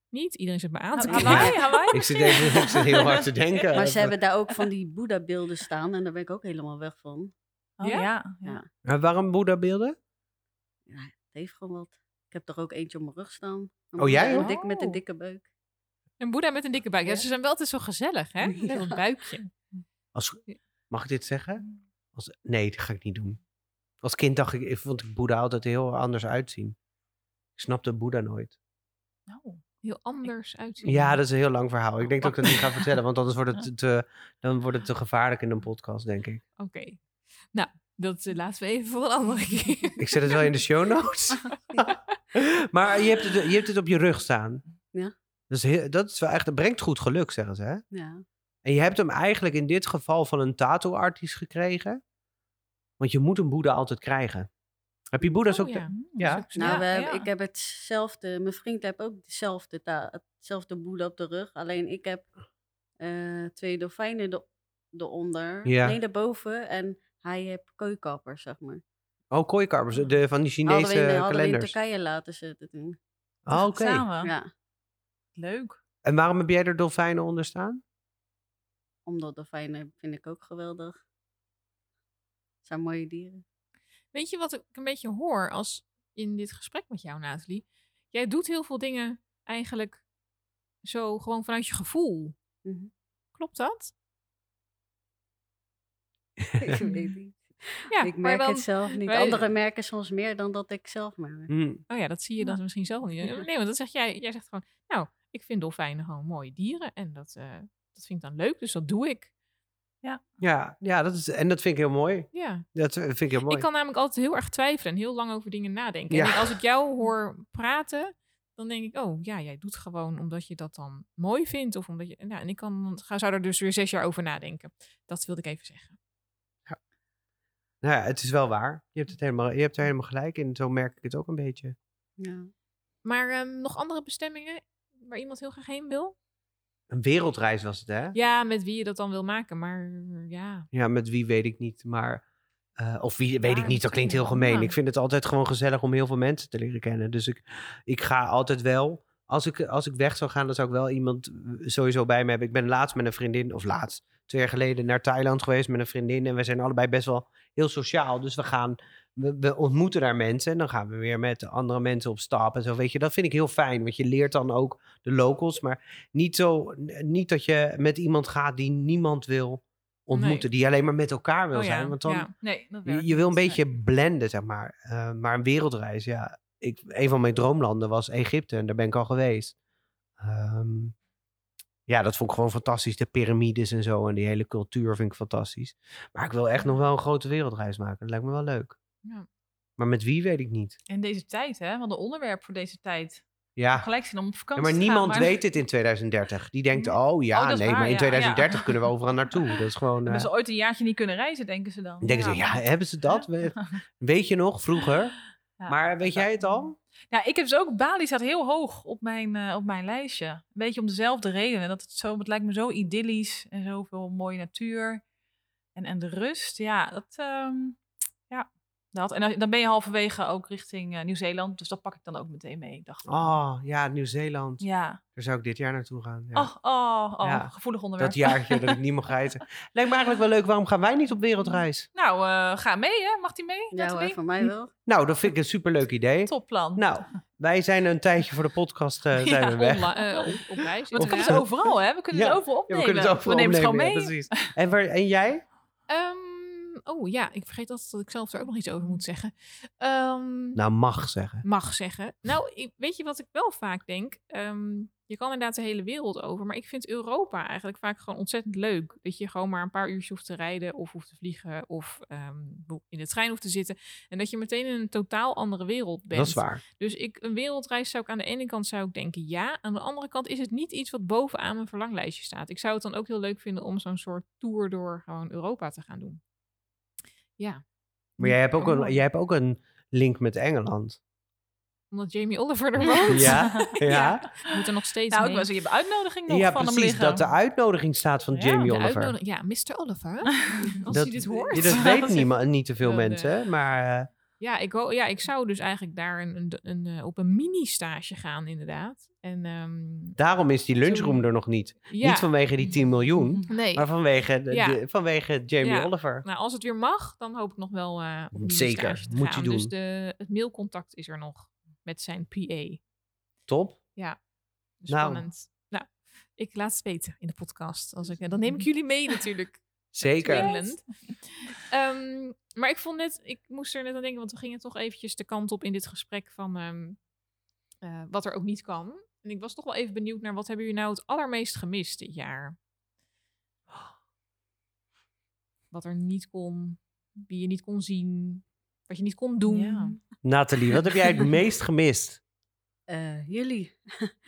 [SPEAKER 2] Niet? Iedereen zit me aan te
[SPEAKER 4] Nou,
[SPEAKER 1] ik-
[SPEAKER 2] kijken.
[SPEAKER 4] <laughs> Hawaii, Hawaii
[SPEAKER 1] Ik zit,
[SPEAKER 4] misschien?
[SPEAKER 1] even, ik zit heel
[SPEAKER 4] <laughs>
[SPEAKER 1] hard te denken.
[SPEAKER 3] Maar ze hebben daar ook
[SPEAKER 1] <laughs>
[SPEAKER 3] van die Boeddha-beelden staan. En daar ben ik ook helemaal weg van.
[SPEAKER 4] Oh, ja? ja.
[SPEAKER 1] Maar waarom Boeddha-beelden?
[SPEAKER 3] Het heeft gewoon wat. Ik heb toch ook eentje op mijn rug staan. Een
[SPEAKER 1] Oh, jij
[SPEAKER 3] Boeddha,
[SPEAKER 2] ook?
[SPEAKER 3] Een dik, met een
[SPEAKER 2] Oh.
[SPEAKER 3] dikke buik.
[SPEAKER 2] Een boeddha met een dikke buik. Ja,
[SPEAKER 3] Ja.
[SPEAKER 2] ze zijn wel altijd zo gezellig, <laughs> hè? Met
[SPEAKER 3] Ja.
[SPEAKER 2] dat buikje.
[SPEAKER 1] Als, mag ik dit zeggen? Als, nee, dat ga ik niet doen. Als kind dacht ik, ik vond ik Boeddha altijd heel anders uitzien. Ik snapte Boeddha nooit.
[SPEAKER 4] Nou,
[SPEAKER 2] Heel anders uitzien.
[SPEAKER 1] Ja, dat is een heel lang verhaal.
[SPEAKER 2] Oh,
[SPEAKER 1] Ik denk dat ik dat niet ga vertellen, want anders wordt het
[SPEAKER 2] <laughs>
[SPEAKER 1] te- te, dan wordt het te gevaarlijk in een podcast, denk ik.
[SPEAKER 2] Oké. Nou, dat eh, laten we even voor een
[SPEAKER 3] <laughs>
[SPEAKER 2] andere keer.
[SPEAKER 1] Ik zet het wel in de
[SPEAKER 2] <laughs>
[SPEAKER 1] show notes. <laughs> maar je hebt, het, je hebt het op je rug staan.
[SPEAKER 3] Ja.
[SPEAKER 1] Dat is, heel- dat is wel echt, dat brengt goed geluk, zeggen ze. Hè?
[SPEAKER 3] Ja.
[SPEAKER 1] En je hebt hem eigenlijk in dit geval van een tattoo-artiest gekregen. Want je moet een Boeddha altijd krijgen. Heb je Boeddha's
[SPEAKER 2] Oh,
[SPEAKER 1] ook?
[SPEAKER 2] ja.
[SPEAKER 1] ja.
[SPEAKER 2] Dat is ook
[SPEAKER 3] Nou,
[SPEAKER 2] zo.
[SPEAKER 3] we
[SPEAKER 2] Ja, ja.
[SPEAKER 3] hebben- ik heb hetzelfde. Mijn vriend heeft ook hetzelfde, ta- hetzelfde boel op de rug. Alleen ik heb eh, twee dolfijnen de- eronder.
[SPEAKER 1] Ja.
[SPEAKER 3] Nee, daarboven. En hij heeft kooikappers, zeg maar.
[SPEAKER 1] Oh, kooikarpers, de, van die
[SPEAKER 3] Hadden
[SPEAKER 1] Chinese
[SPEAKER 3] we, in, hadden we in
[SPEAKER 1] kalenders.
[SPEAKER 3] Turkije laten zitten toen.
[SPEAKER 1] Oh, Oké.
[SPEAKER 4] Samen.
[SPEAKER 3] Ja,
[SPEAKER 4] Leuk.
[SPEAKER 1] En waarom heb jij er dolfijnen onder staan?
[SPEAKER 3] omdat dolfijnen vind ik ook geweldig. Het zijn mooie dieren. <laughs>
[SPEAKER 2] Weet je wat ik een beetje hoor als in dit gesprek met jou, Nathalie? Jij doet heel veel dingen eigenlijk zo gewoon vanuit je gevoel.
[SPEAKER 3] Mhm.
[SPEAKER 2] Klopt dat?
[SPEAKER 3] ik weet niet.
[SPEAKER 2] Ja,
[SPEAKER 3] ik
[SPEAKER 2] maar
[SPEAKER 3] merk
[SPEAKER 2] dan-
[SPEAKER 3] het zelf niet.
[SPEAKER 2] wij-
[SPEAKER 3] Anderen merken soms meer dan dat ik zelf merk.
[SPEAKER 1] Hm.
[SPEAKER 2] Oh ja, dat zie je dan
[SPEAKER 4] Ja.
[SPEAKER 2] misschien zelf niet.
[SPEAKER 3] Ja.
[SPEAKER 2] Nee, want dat zeg jij. Jij zegt gewoon, nou, ik vind dolfijnen gewoon mooie dieren. En dat, eh, dat vind ik dan leuk, dus dat doe ik.
[SPEAKER 1] Ja, ja dat is, en dat vind ik heel mooi.
[SPEAKER 2] Ja.
[SPEAKER 1] Dat vind ik heel mooi.
[SPEAKER 2] Ik kan namelijk altijd heel erg twijfelen en heel lang over dingen nadenken.
[SPEAKER 1] Ja.
[SPEAKER 2] En als ik jou hoor praten, dan denk ik, oh ja, jij doet gewoon omdat je dat dan mooi vindt. Of omdat je, nou, en ik kan, ga, zou er dus weer zes jaar over nadenken. Dat wilde ik even zeggen.
[SPEAKER 1] Nou ja, het is wel waar. Je hebt, het helemaal, je hebt er helemaal gelijk in. Zo merk ik het ook een beetje.
[SPEAKER 3] Ja.
[SPEAKER 2] Maar ehm, nog andere bestemmingen waar iemand heel graag heen wil?
[SPEAKER 1] Een wereldreis was het, hè?
[SPEAKER 2] Ja, met wie je dat dan wil maken. Maar ja,
[SPEAKER 1] Ja, met wie weet ik niet, maar... eh, of wie weet ik
[SPEAKER 2] Maar
[SPEAKER 1] niet, dat klinkt heel
[SPEAKER 2] misschien,
[SPEAKER 1] gemeen.
[SPEAKER 2] ja.
[SPEAKER 1] Ik vind het altijd gewoon gezellig om heel veel mensen te leren kennen. Dus ik, ik ga altijd wel... Als ik, als ik weg zou gaan, dan zou ik wel iemand eh, sowieso bij me hebben. Ik ben laatst met een vriendin, of laatst, twee jaar geleden naar Thailand geweest met een vriendin. En we zijn allebei best wel heel sociaal. Dus we gaan, we, we ontmoeten daar mensen. En dan gaan we weer met andere mensen op stap en zo. Weet je, dat vind ik heel fijn. Want je leert dan ook de locals. Maar niet zo, niet dat je met iemand gaat die niemand wil ontmoeten. Die alleen maar met elkaar wil
[SPEAKER 2] Oh ja,
[SPEAKER 1] zijn. Want dan,
[SPEAKER 2] ja.
[SPEAKER 4] Nee, dat
[SPEAKER 1] je,
[SPEAKER 4] werkt
[SPEAKER 1] je wil een
[SPEAKER 4] niet. Nee.
[SPEAKER 1] beetje blenden, zeg maar. Eh, maar een wereldreis, ja. Ik, een van mijn droomlanden was Egypte en daar ben ik al geweest. Ehm, ja, dat vond ik gewoon fantastisch. De piramides en zo en die hele cultuur vind ik fantastisch. Maar ik wil echt nog wel een grote wereldreis maken. Dat lijkt me wel leuk.
[SPEAKER 2] Ja.
[SPEAKER 1] Maar met wie weet ik niet.
[SPEAKER 4] En deze tijd, hè? Want de onderwerp voor deze tijd.
[SPEAKER 1] Ja,
[SPEAKER 4] Gelijk zin om op
[SPEAKER 1] Ah. Ja,
[SPEAKER 4] vakantie
[SPEAKER 1] maar
[SPEAKER 4] te
[SPEAKER 1] niemand
[SPEAKER 4] gaan,
[SPEAKER 1] weet dit in 2030. Die denkt, oh ja,
[SPEAKER 4] Oh, dat is
[SPEAKER 1] nee,
[SPEAKER 4] waar,
[SPEAKER 1] maar in
[SPEAKER 4] ja,
[SPEAKER 1] 2030
[SPEAKER 4] ja.
[SPEAKER 1] kunnen we overal naartoe. Dat is gewoon... eh
[SPEAKER 4] Hebben ze ooit een jaartje niet kunnen reizen, denken ze dan. <laughs>
[SPEAKER 1] denken ze, ja, hebben ze dat? We- Weet je nog, vroeger?
[SPEAKER 4] Ja.
[SPEAKER 1] Maar weet jij het al?
[SPEAKER 4] Ja, ik heb dus ook Bali staat heel hoog op mijn, eh, op mijn lijstje. Een beetje om dezelfde reden. Dat het, zo, het lijkt me zo idyllisch en zoveel mooie natuur. En, en de rust. Ja, dat. ehm, ja, dat. En dan- dan ben je halverwege ook richting eh, Nieuw-Zeeland. Dus dat pak ik dan ook meteen mee. Ik dacht.
[SPEAKER 1] Oh, ja, Nieuw-Zeeland.
[SPEAKER 4] Ja.
[SPEAKER 1] Daar zou ik dit jaar naartoe gaan. Ja.
[SPEAKER 4] Oh, oh, oh.
[SPEAKER 1] Ja.
[SPEAKER 4] Gevoelig onderwerp.
[SPEAKER 1] dat jaartje dat ik niet mag
[SPEAKER 4] <laughs>
[SPEAKER 1] reizen. Lijkt me eigenlijk wel leuk. Waarom gaan wij niet op wereldreis?
[SPEAKER 4] Nou, eh, ga mee, hè? Mag die mee?
[SPEAKER 3] Ja hoor,
[SPEAKER 4] Nathalie?
[SPEAKER 3] voor mij wel.
[SPEAKER 4] Mm.
[SPEAKER 1] Nou, dat vind ik een superleuk idee.
[SPEAKER 4] Topplan.
[SPEAKER 1] Nou, wij zijn een tijdje voor de podcast eh, zijn
[SPEAKER 4] <laughs> Ja,
[SPEAKER 1] we weg.
[SPEAKER 2] Onla- eh, op, op reis.
[SPEAKER 4] Want we kunnen
[SPEAKER 2] inderdaad.
[SPEAKER 4] het overal, hè? We kunnen
[SPEAKER 1] Ja.
[SPEAKER 4] het overal
[SPEAKER 1] Ja,
[SPEAKER 4] opnemen.
[SPEAKER 1] we kunnen het overal
[SPEAKER 4] nemen het
[SPEAKER 1] opnemen,
[SPEAKER 4] gewoon mee.
[SPEAKER 1] ja, precies. En, waar, en jij?
[SPEAKER 2] Ehm, oh ja, ik vergeet altijd dat ik zelf er ook nog iets over moet zeggen. Ehm,
[SPEAKER 1] Nou, mag zeggen.
[SPEAKER 2] Mag zeggen. Nou, ik, weet je wat ik wel vaak denk? Ehm, je kan inderdaad de hele wereld over, maar ik vind Europa eigenlijk vaak gewoon ontzettend leuk. Dat je gewoon maar een paar uurtjes hoeft te rijden of hoeft te vliegen of ehm, in de trein hoeft te zitten. En dat je meteen in een totaal andere wereld bent.
[SPEAKER 1] Dat is waar.
[SPEAKER 2] Dus ik, een wereldreis zou ik aan de ene kant zou ik denken ja. Aan de andere kant is het niet iets wat bovenaan mijn verlanglijstje staat. Ik zou het dan ook heel leuk vinden om zo'n soort tour door gewoon Europa te gaan doen. Ja.
[SPEAKER 1] Maar jij hebt ook
[SPEAKER 2] Allemaal.
[SPEAKER 4] Oh.
[SPEAKER 1] een, jij hebt ook een link met
[SPEAKER 4] <laughs>
[SPEAKER 1] Engeland.
[SPEAKER 2] Omdat Jamie Oliver er woont.
[SPEAKER 1] Ja, ja.
[SPEAKER 2] Moet er nog steeds
[SPEAKER 4] Nou, ik
[SPEAKER 2] heen.
[SPEAKER 4] was je hebt uitnodiging nog
[SPEAKER 1] Ja,
[SPEAKER 4] van hem
[SPEAKER 1] precies.
[SPEAKER 4] liggen.
[SPEAKER 1] Dat de uitnodiging staat van
[SPEAKER 4] Ja,
[SPEAKER 1] Jamie
[SPEAKER 2] De
[SPEAKER 1] Oliver.
[SPEAKER 2] uitnodiging- Ja, Mr.
[SPEAKER 1] <laughs>
[SPEAKER 2] Oliver. Als
[SPEAKER 1] dat,
[SPEAKER 2] hij dit
[SPEAKER 4] <laughs>
[SPEAKER 2] hoort.
[SPEAKER 1] Dat weet
[SPEAKER 4] Dat is-
[SPEAKER 1] niemand, niet te veel
[SPEAKER 2] Oh, nee.
[SPEAKER 1] mensen, hè, maar... eh,
[SPEAKER 2] Ja, ik, ho- ja, ik zou dus eigenlijk daar een, een, een, eh, op een mini-stage gaan, inderdaad. En, ehm,
[SPEAKER 1] Daarom is die lunchroom er nog niet.
[SPEAKER 2] ja,
[SPEAKER 1] Niet vanwege die 10 miljoen,
[SPEAKER 3] Mhm.
[SPEAKER 2] nee.
[SPEAKER 1] maar vanwege, de-
[SPEAKER 2] Ja.
[SPEAKER 1] de- vanwege Jamie
[SPEAKER 2] Ja.
[SPEAKER 1] Oliver.
[SPEAKER 2] Nou, als het weer mag, dan hoop ik nog wel eh, op een
[SPEAKER 1] Zeker,
[SPEAKER 2] stage te
[SPEAKER 1] moet je
[SPEAKER 2] gaan.
[SPEAKER 1] doen.
[SPEAKER 2] Dus de, het mailcontact is er nog met zijn PA.
[SPEAKER 1] Top. Nou.
[SPEAKER 2] Spannend. Nou, ik laat het weten in de podcast. Als ik, en dan neem ik
[SPEAKER 4] Mm.
[SPEAKER 2] jullie mee natuurlijk.
[SPEAKER 1] Zeker.
[SPEAKER 2] to England. Ehm, maar ik vond net, ik moest er net aan denken, want we gingen toch eventjes de kant op in dit gesprek van ehm, eh, wat er ook niet kan. En ik was toch wel even benieuwd naar wat hebben jullie nou het allermeest gemist dit jaar? Wat er niet kon, wie je niet kon zien, wat je niet kon doen.
[SPEAKER 4] Ja.
[SPEAKER 1] Nathalie, wat heb jij het meest gemist?
[SPEAKER 3] Eh, jullie,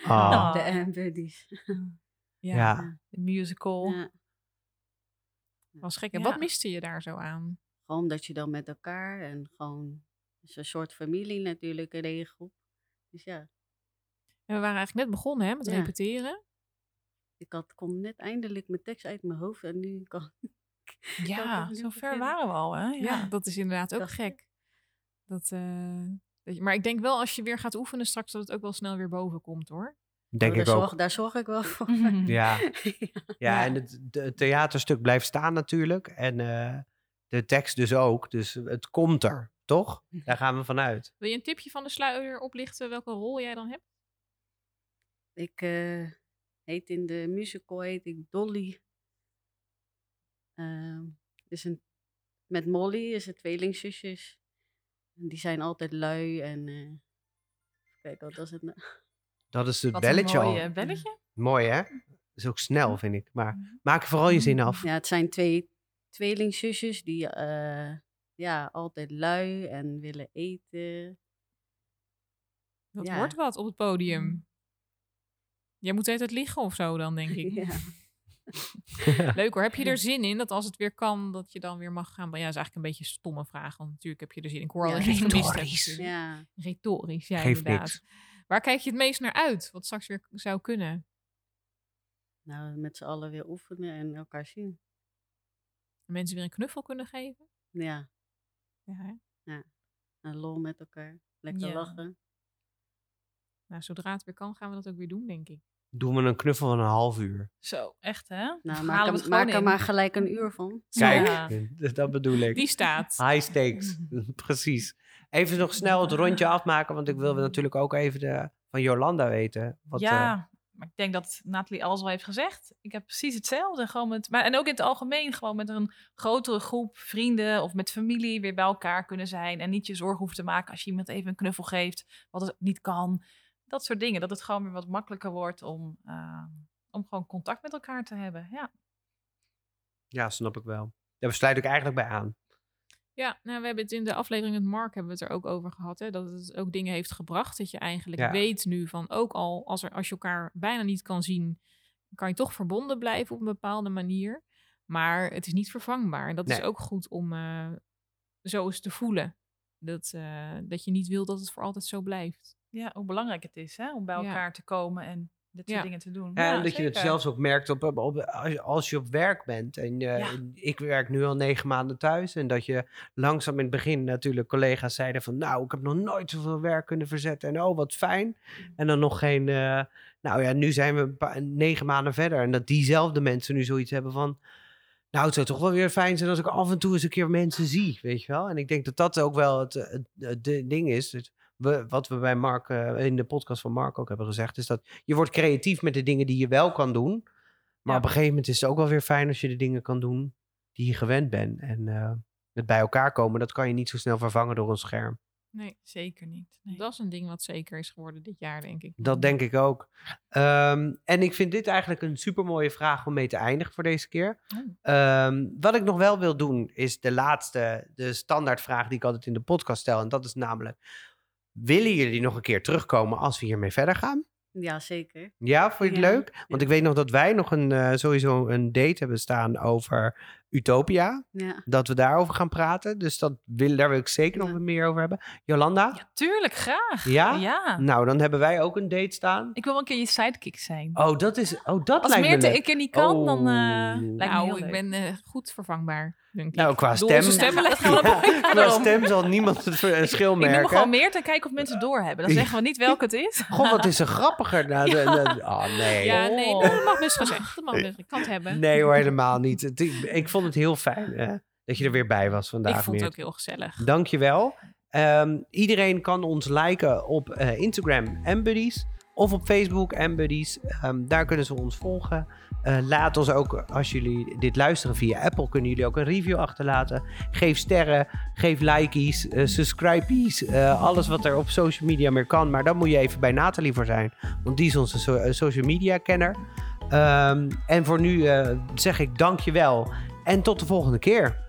[SPEAKER 1] Ah,
[SPEAKER 4] Nou,
[SPEAKER 3] de Ambuddies.
[SPEAKER 1] ja.
[SPEAKER 4] ja. De musical.
[SPEAKER 3] Ja.
[SPEAKER 2] Was gek. En
[SPEAKER 4] Ja.
[SPEAKER 2] wat miste je daar zo aan?
[SPEAKER 3] Gewoon dat je dan met elkaar en gewoon... Het is een soort familie natuurlijk, een regengroep. Dus ja,
[SPEAKER 2] En we waren eigenlijk net begonnen hè, met
[SPEAKER 3] Ja.
[SPEAKER 2] repeteren.
[SPEAKER 3] ik had, kon net eindelijk mijn tekst uit mijn hoofd en nu kan
[SPEAKER 4] Ja,
[SPEAKER 3] dat is
[SPEAKER 4] zo
[SPEAKER 3] heel
[SPEAKER 4] ver
[SPEAKER 3] vervelend.
[SPEAKER 4] waren we al, hè?
[SPEAKER 2] Ja, dat is inderdaad ook
[SPEAKER 3] Dat-
[SPEAKER 2] gek. Dat, eh, dat je- maar ik denk wel als je weer gaat oefenen straks dat het ook wel snel weer boven komt hoor.
[SPEAKER 1] denk
[SPEAKER 3] oh, daar,
[SPEAKER 1] ik ook.
[SPEAKER 3] zorg, daar zorg ik wel <laughs> voor.
[SPEAKER 1] Ja. ja,
[SPEAKER 2] Ja.
[SPEAKER 1] en het, de- het theaterstuk blijft staan natuurlijk. En eh, de tekst dus ook. Dus het komt er, toch? Daar gaan we vanuit.
[SPEAKER 2] Wil je een tipje van de sluier oplichten welke rol jij dan hebt?
[SPEAKER 3] Ik eh, heet in de musical heet ik Dolly. Ehm, dus een, met Molly is het tweelingzusjes. En die zijn altijd lui en eh, even kijken wat was het nou?
[SPEAKER 1] Dat is het
[SPEAKER 4] Wat een
[SPEAKER 1] belletje
[SPEAKER 4] mooi,
[SPEAKER 1] al.
[SPEAKER 4] eh, belletje.
[SPEAKER 1] Mooi, hè? is ook snel, vind ik. Maar maak er vooral je zin af.
[SPEAKER 3] Ja, het zijn twee tweelingzusjes die eh, ja, altijd lui en willen eten.
[SPEAKER 2] Dat
[SPEAKER 3] Ja. Mm.
[SPEAKER 2] wordt wat op het podium. Jij moet het liggen of zo dan, denk ik.
[SPEAKER 3] <laughs> Ja.
[SPEAKER 2] Leuk hoor. Heb je er zin in dat als het weer kan, dat je dan weer mag gaan? Maar ja, dat is eigenlijk een beetje een stomme vraag. Want natuurlijk heb je er zin in. Ik hoor al
[SPEAKER 3] Ja.
[SPEAKER 2] dat je het gemist hebt.
[SPEAKER 1] Retorisch.
[SPEAKER 2] natuurlijk.
[SPEAKER 3] ja,
[SPEAKER 2] Retorisch, ja,
[SPEAKER 1] Geeft
[SPEAKER 2] inderdaad.
[SPEAKER 1] niks.
[SPEAKER 2] Waar kijk je het meest naar uit? Wat straks weer zou kunnen?
[SPEAKER 3] nou met z'n allen weer oefenen en elkaar zien.
[SPEAKER 2] Mensen weer een knuffel kunnen geven?
[SPEAKER 3] Ja,
[SPEAKER 2] Ja, hè?
[SPEAKER 3] en lol met elkaar. Lekker
[SPEAKER 4] Ja.
[SPEAKER 3] lachen.
[SPEAKER 2] Nou, zodra het weer kan, gaan we dat ook weer doen, denk ik.
[SPEAKER 1] Doen we een knuffel van een half uur.
[SPEAKER 4] Zo, echt, hè?
[SPEAKER 3] Nou,
[SPEAKER 4] Halen
[SPEAKER 3] maak
[SPEAKER 4] we het
[SPEAKER 3] er,
[SPEAKER 4] gewoon
[SPEAKER 3] maak er
[SPEAKER 4] in.
[SPEAKER 3] maar gelijk een uur van.
[SPEAKER 1] Kijk, <laughs>
[SPEAKER 4] Ja.
[SPEAKER 1] dat bedoel ik.
[SPEAKER 2] Die staat.
[SPEAKER 1] High stakes, <laughs> precies. Even nog snel het rondje afmaken, want ik wil natuurlijk ook even de, van Jolanda weten. Wat,
[SPEAKER 4] ja,
[SPEAKER 1] eh,
[SPEAKER 4] maar ik denk dat Nathalie alles al heeft gezegd. Ik heb precies hetzelfde. Gewoon met, maar, en ook in het algemeen, gewoon met een grotere groep vrienden of met familie weer bij elkaar kunnen zijn. En niet je zorgen hoeft te maken als je iemand even een knuffel geeft, wat het niet kan. Dat soort dingen. Dat het gewoon weer wat makkelijker wordt om, eh, om gewoon contact met elkaar te hebben. Ja.
[SPEAKER 1] ja, snap ik wel. Daar sluit ik eigenlijk bij aan.
[SPEAKER 2] Ja, nou, we hebben het in de aflevering met Mark hebben we het er ook over gehad. Hè? Dat het ook dingen heeft gebracht. Dat je eigenlijk
[SPEAKER 1] Ja.
[SPEAKER 2] weet nu van ook al als, er, als je elkaar bijna niet kan zien, kan je toch verbonden blijven op een bepaalde manier. Maar het is niet vervangbaar. En dat is
[SPEAKER 1] Nee.
[SPEAKER 2] ook goed om eh, zo eens te voelen. Dat, eh, dat je niet wil dat het voor altijd zo blijft.
[SPEAKER 4] Ja, hoe belangrijk het is hè, om bij
[SPEAKER 2] Ja.
[SPEAKER 4] elkaar te komen en dit soort
[SPEAKER 2] Ja.
[SPEAKER 4] dingen te doen.
[SPEAKER 1] Ja, en dat je het
[SPEAKER 4] zeker.
[SPEAKER 1] zelfs ook merkt op, op- op- als, je, als je op werk bent. En eh,
[SPEAKER 4] Ja.
[SPEAKER 1] ik werk nu al negen maanden thuis. En dat je langzaam in het begin natuurlijk collega's zeiden van... nou, ik heb nog nooit zoveel werk kunnen verzetten. En oh, wat fijn.
[SPEAKER 4] Mm.
[SPEAKER 1] En dan nog geen... eh, nou ja, nu zijn we een paar- negen maanden verder. En dat diezelfde mensen nu zoiets hebben van... Nou, het zou toch wel weer fijn zijn als ik af en toe eens een keer mensen zie, weet je wel? En ik denk dat dat ook wel het, het, het ding is. Dus we, wat we bij Mark, eh, in de podcast van Mark ook hebben gezegd, is dat je wordt creatief met de dingen die je wel kan doen. Maar
[SPEAKER 4] Ja.
[SPEAKER 1] op een gegeven moment is het ook wel weer fijn als je de dingen kan doen die je gewend bent. En eh, het bij elkaar komen, dat kan je niet zo snel vervangen door een scherm.
[SPEAKER 2] Nee,
[SPEAKER 4] Zeker niet. Nee.
[SPEAKER 2] dat is een ding wat zeker is geworden dit jaar, denk ik.
[SPEAKER 4] Mm.
[SPEAKER 1] Dat denk ik ook. Ehm, en ik vind dit eigenlijk een supermooie vraag om mee te eindigen voor deze keer.
[SPEAKER 4] Oh.
[SPEAKER 1] Ehm, wat ik nog wel wil doen, is de laatste, de standaardvraag die ik altijd in de podcast stel. En dat is namelijk, willen jullie nog een keer terugkomen als we hiermee verder gaan?
[SPEAKER 3] Ja, zeker.
[SPEAKER 1] Ja, vond je het
[SPEAKER 3] Ja.
[SPEAKER 1] leuk? Want ik weet nog dat wij nog een, eh, sowieso een date hebben staan over Utopia.
[SPEAKER 3] Ja.
[SPEAKER 1] Dat we daarover gaan praten. Dus dat wil, daar wil ik zeker nog
[SPEAKER 3] Ja.
[SPEAKER 1] wat meer over hebben. Jolanda? Ja.
[SPEAKER 4] Ja, tuurlijk, graag. Ja.
[SPEAKER 1] Nou, dan hebben wij ook een date staan.
[SPEAKER 4] Ik wil wel een keer je sidekick zijn.
[SPEAKER 1] Oh, dat is. Oh, dat
[SPEAKER 4] Als
[SPEAKER 1] lijkt me
[SPEAKER 4] Meerte
[SPEAKER 1] leuk.
[SPEAKER 4] ik er niet kan, dan
[SPEAKER 1] Oh.
[SPEAKER 4] eh lijkt me heel
[SPEAKER 2] nou, ik
[SPEAKER 4] leuk.
[SPEAKER 2] ben eh, goed vervangbaar, denk ik.
[SPEAKER 1] Nou, qua
[SPEAKER 2] Door onze
[SPEAKER 1] stem.
[SPEAKER 2] stemmen
[SPEAKER 4] Ja.
[SPEAKER 2] ligt gewoon op.
[SPEAKER 1] <laughs> Ja, qua
[SPEAKER 4] daarom.
[SPEAKER 1] stem zal niemand het verschil
[SPEAKER 4] Ik noem me
[SPEAKER 1] merken.
[SPEAKER 4] gewoon Meerte en kijken of mensen
[SPEAKER 2] <laughs>
[SPEAKER 4] doorhebben. Dan zeggen we niet welke het is.
[SPEAKER 1] Goh, wat is er grappiger. na de- na- oh, nee.
[SPEAKER 2] Ja, nee,
[SPEAKER 4] Oh.
[SPEAKER 2] dat mag best gezegd. Dat mag best. Ik kan het hebben.
[SPEAKER 1] Nee hoor, helemaal niet. Het- ik, ik vond het heel fijn eh, dat je er weer bij was vandaag.
[SPEAKER 2] <laughs> ik vond het
[SPEAKER 1] Meert.
[SPEAKER 2] ook heel gezellig.
[SPEAKER 1] Dankjewel. Ehm iedereen kan ons liken op eh, Instagram Ambuddies of op Facebook Ambuddies. Ehm daar kunnen ze ons volgen. Eh, laat ons ook, als jullie dit luisteren via Apple, kunnen jullie ook een review achterlaten. Geef sterren, geef likies, eh subscribees, eh, alles wat er op social media meer kan. Maar dan moet je even bij Nathalie voor zijn, want die is onze so- eh, social media kenner. Ehm, en voor nu eh, zeg ik dankjewel en tot de volgende keer.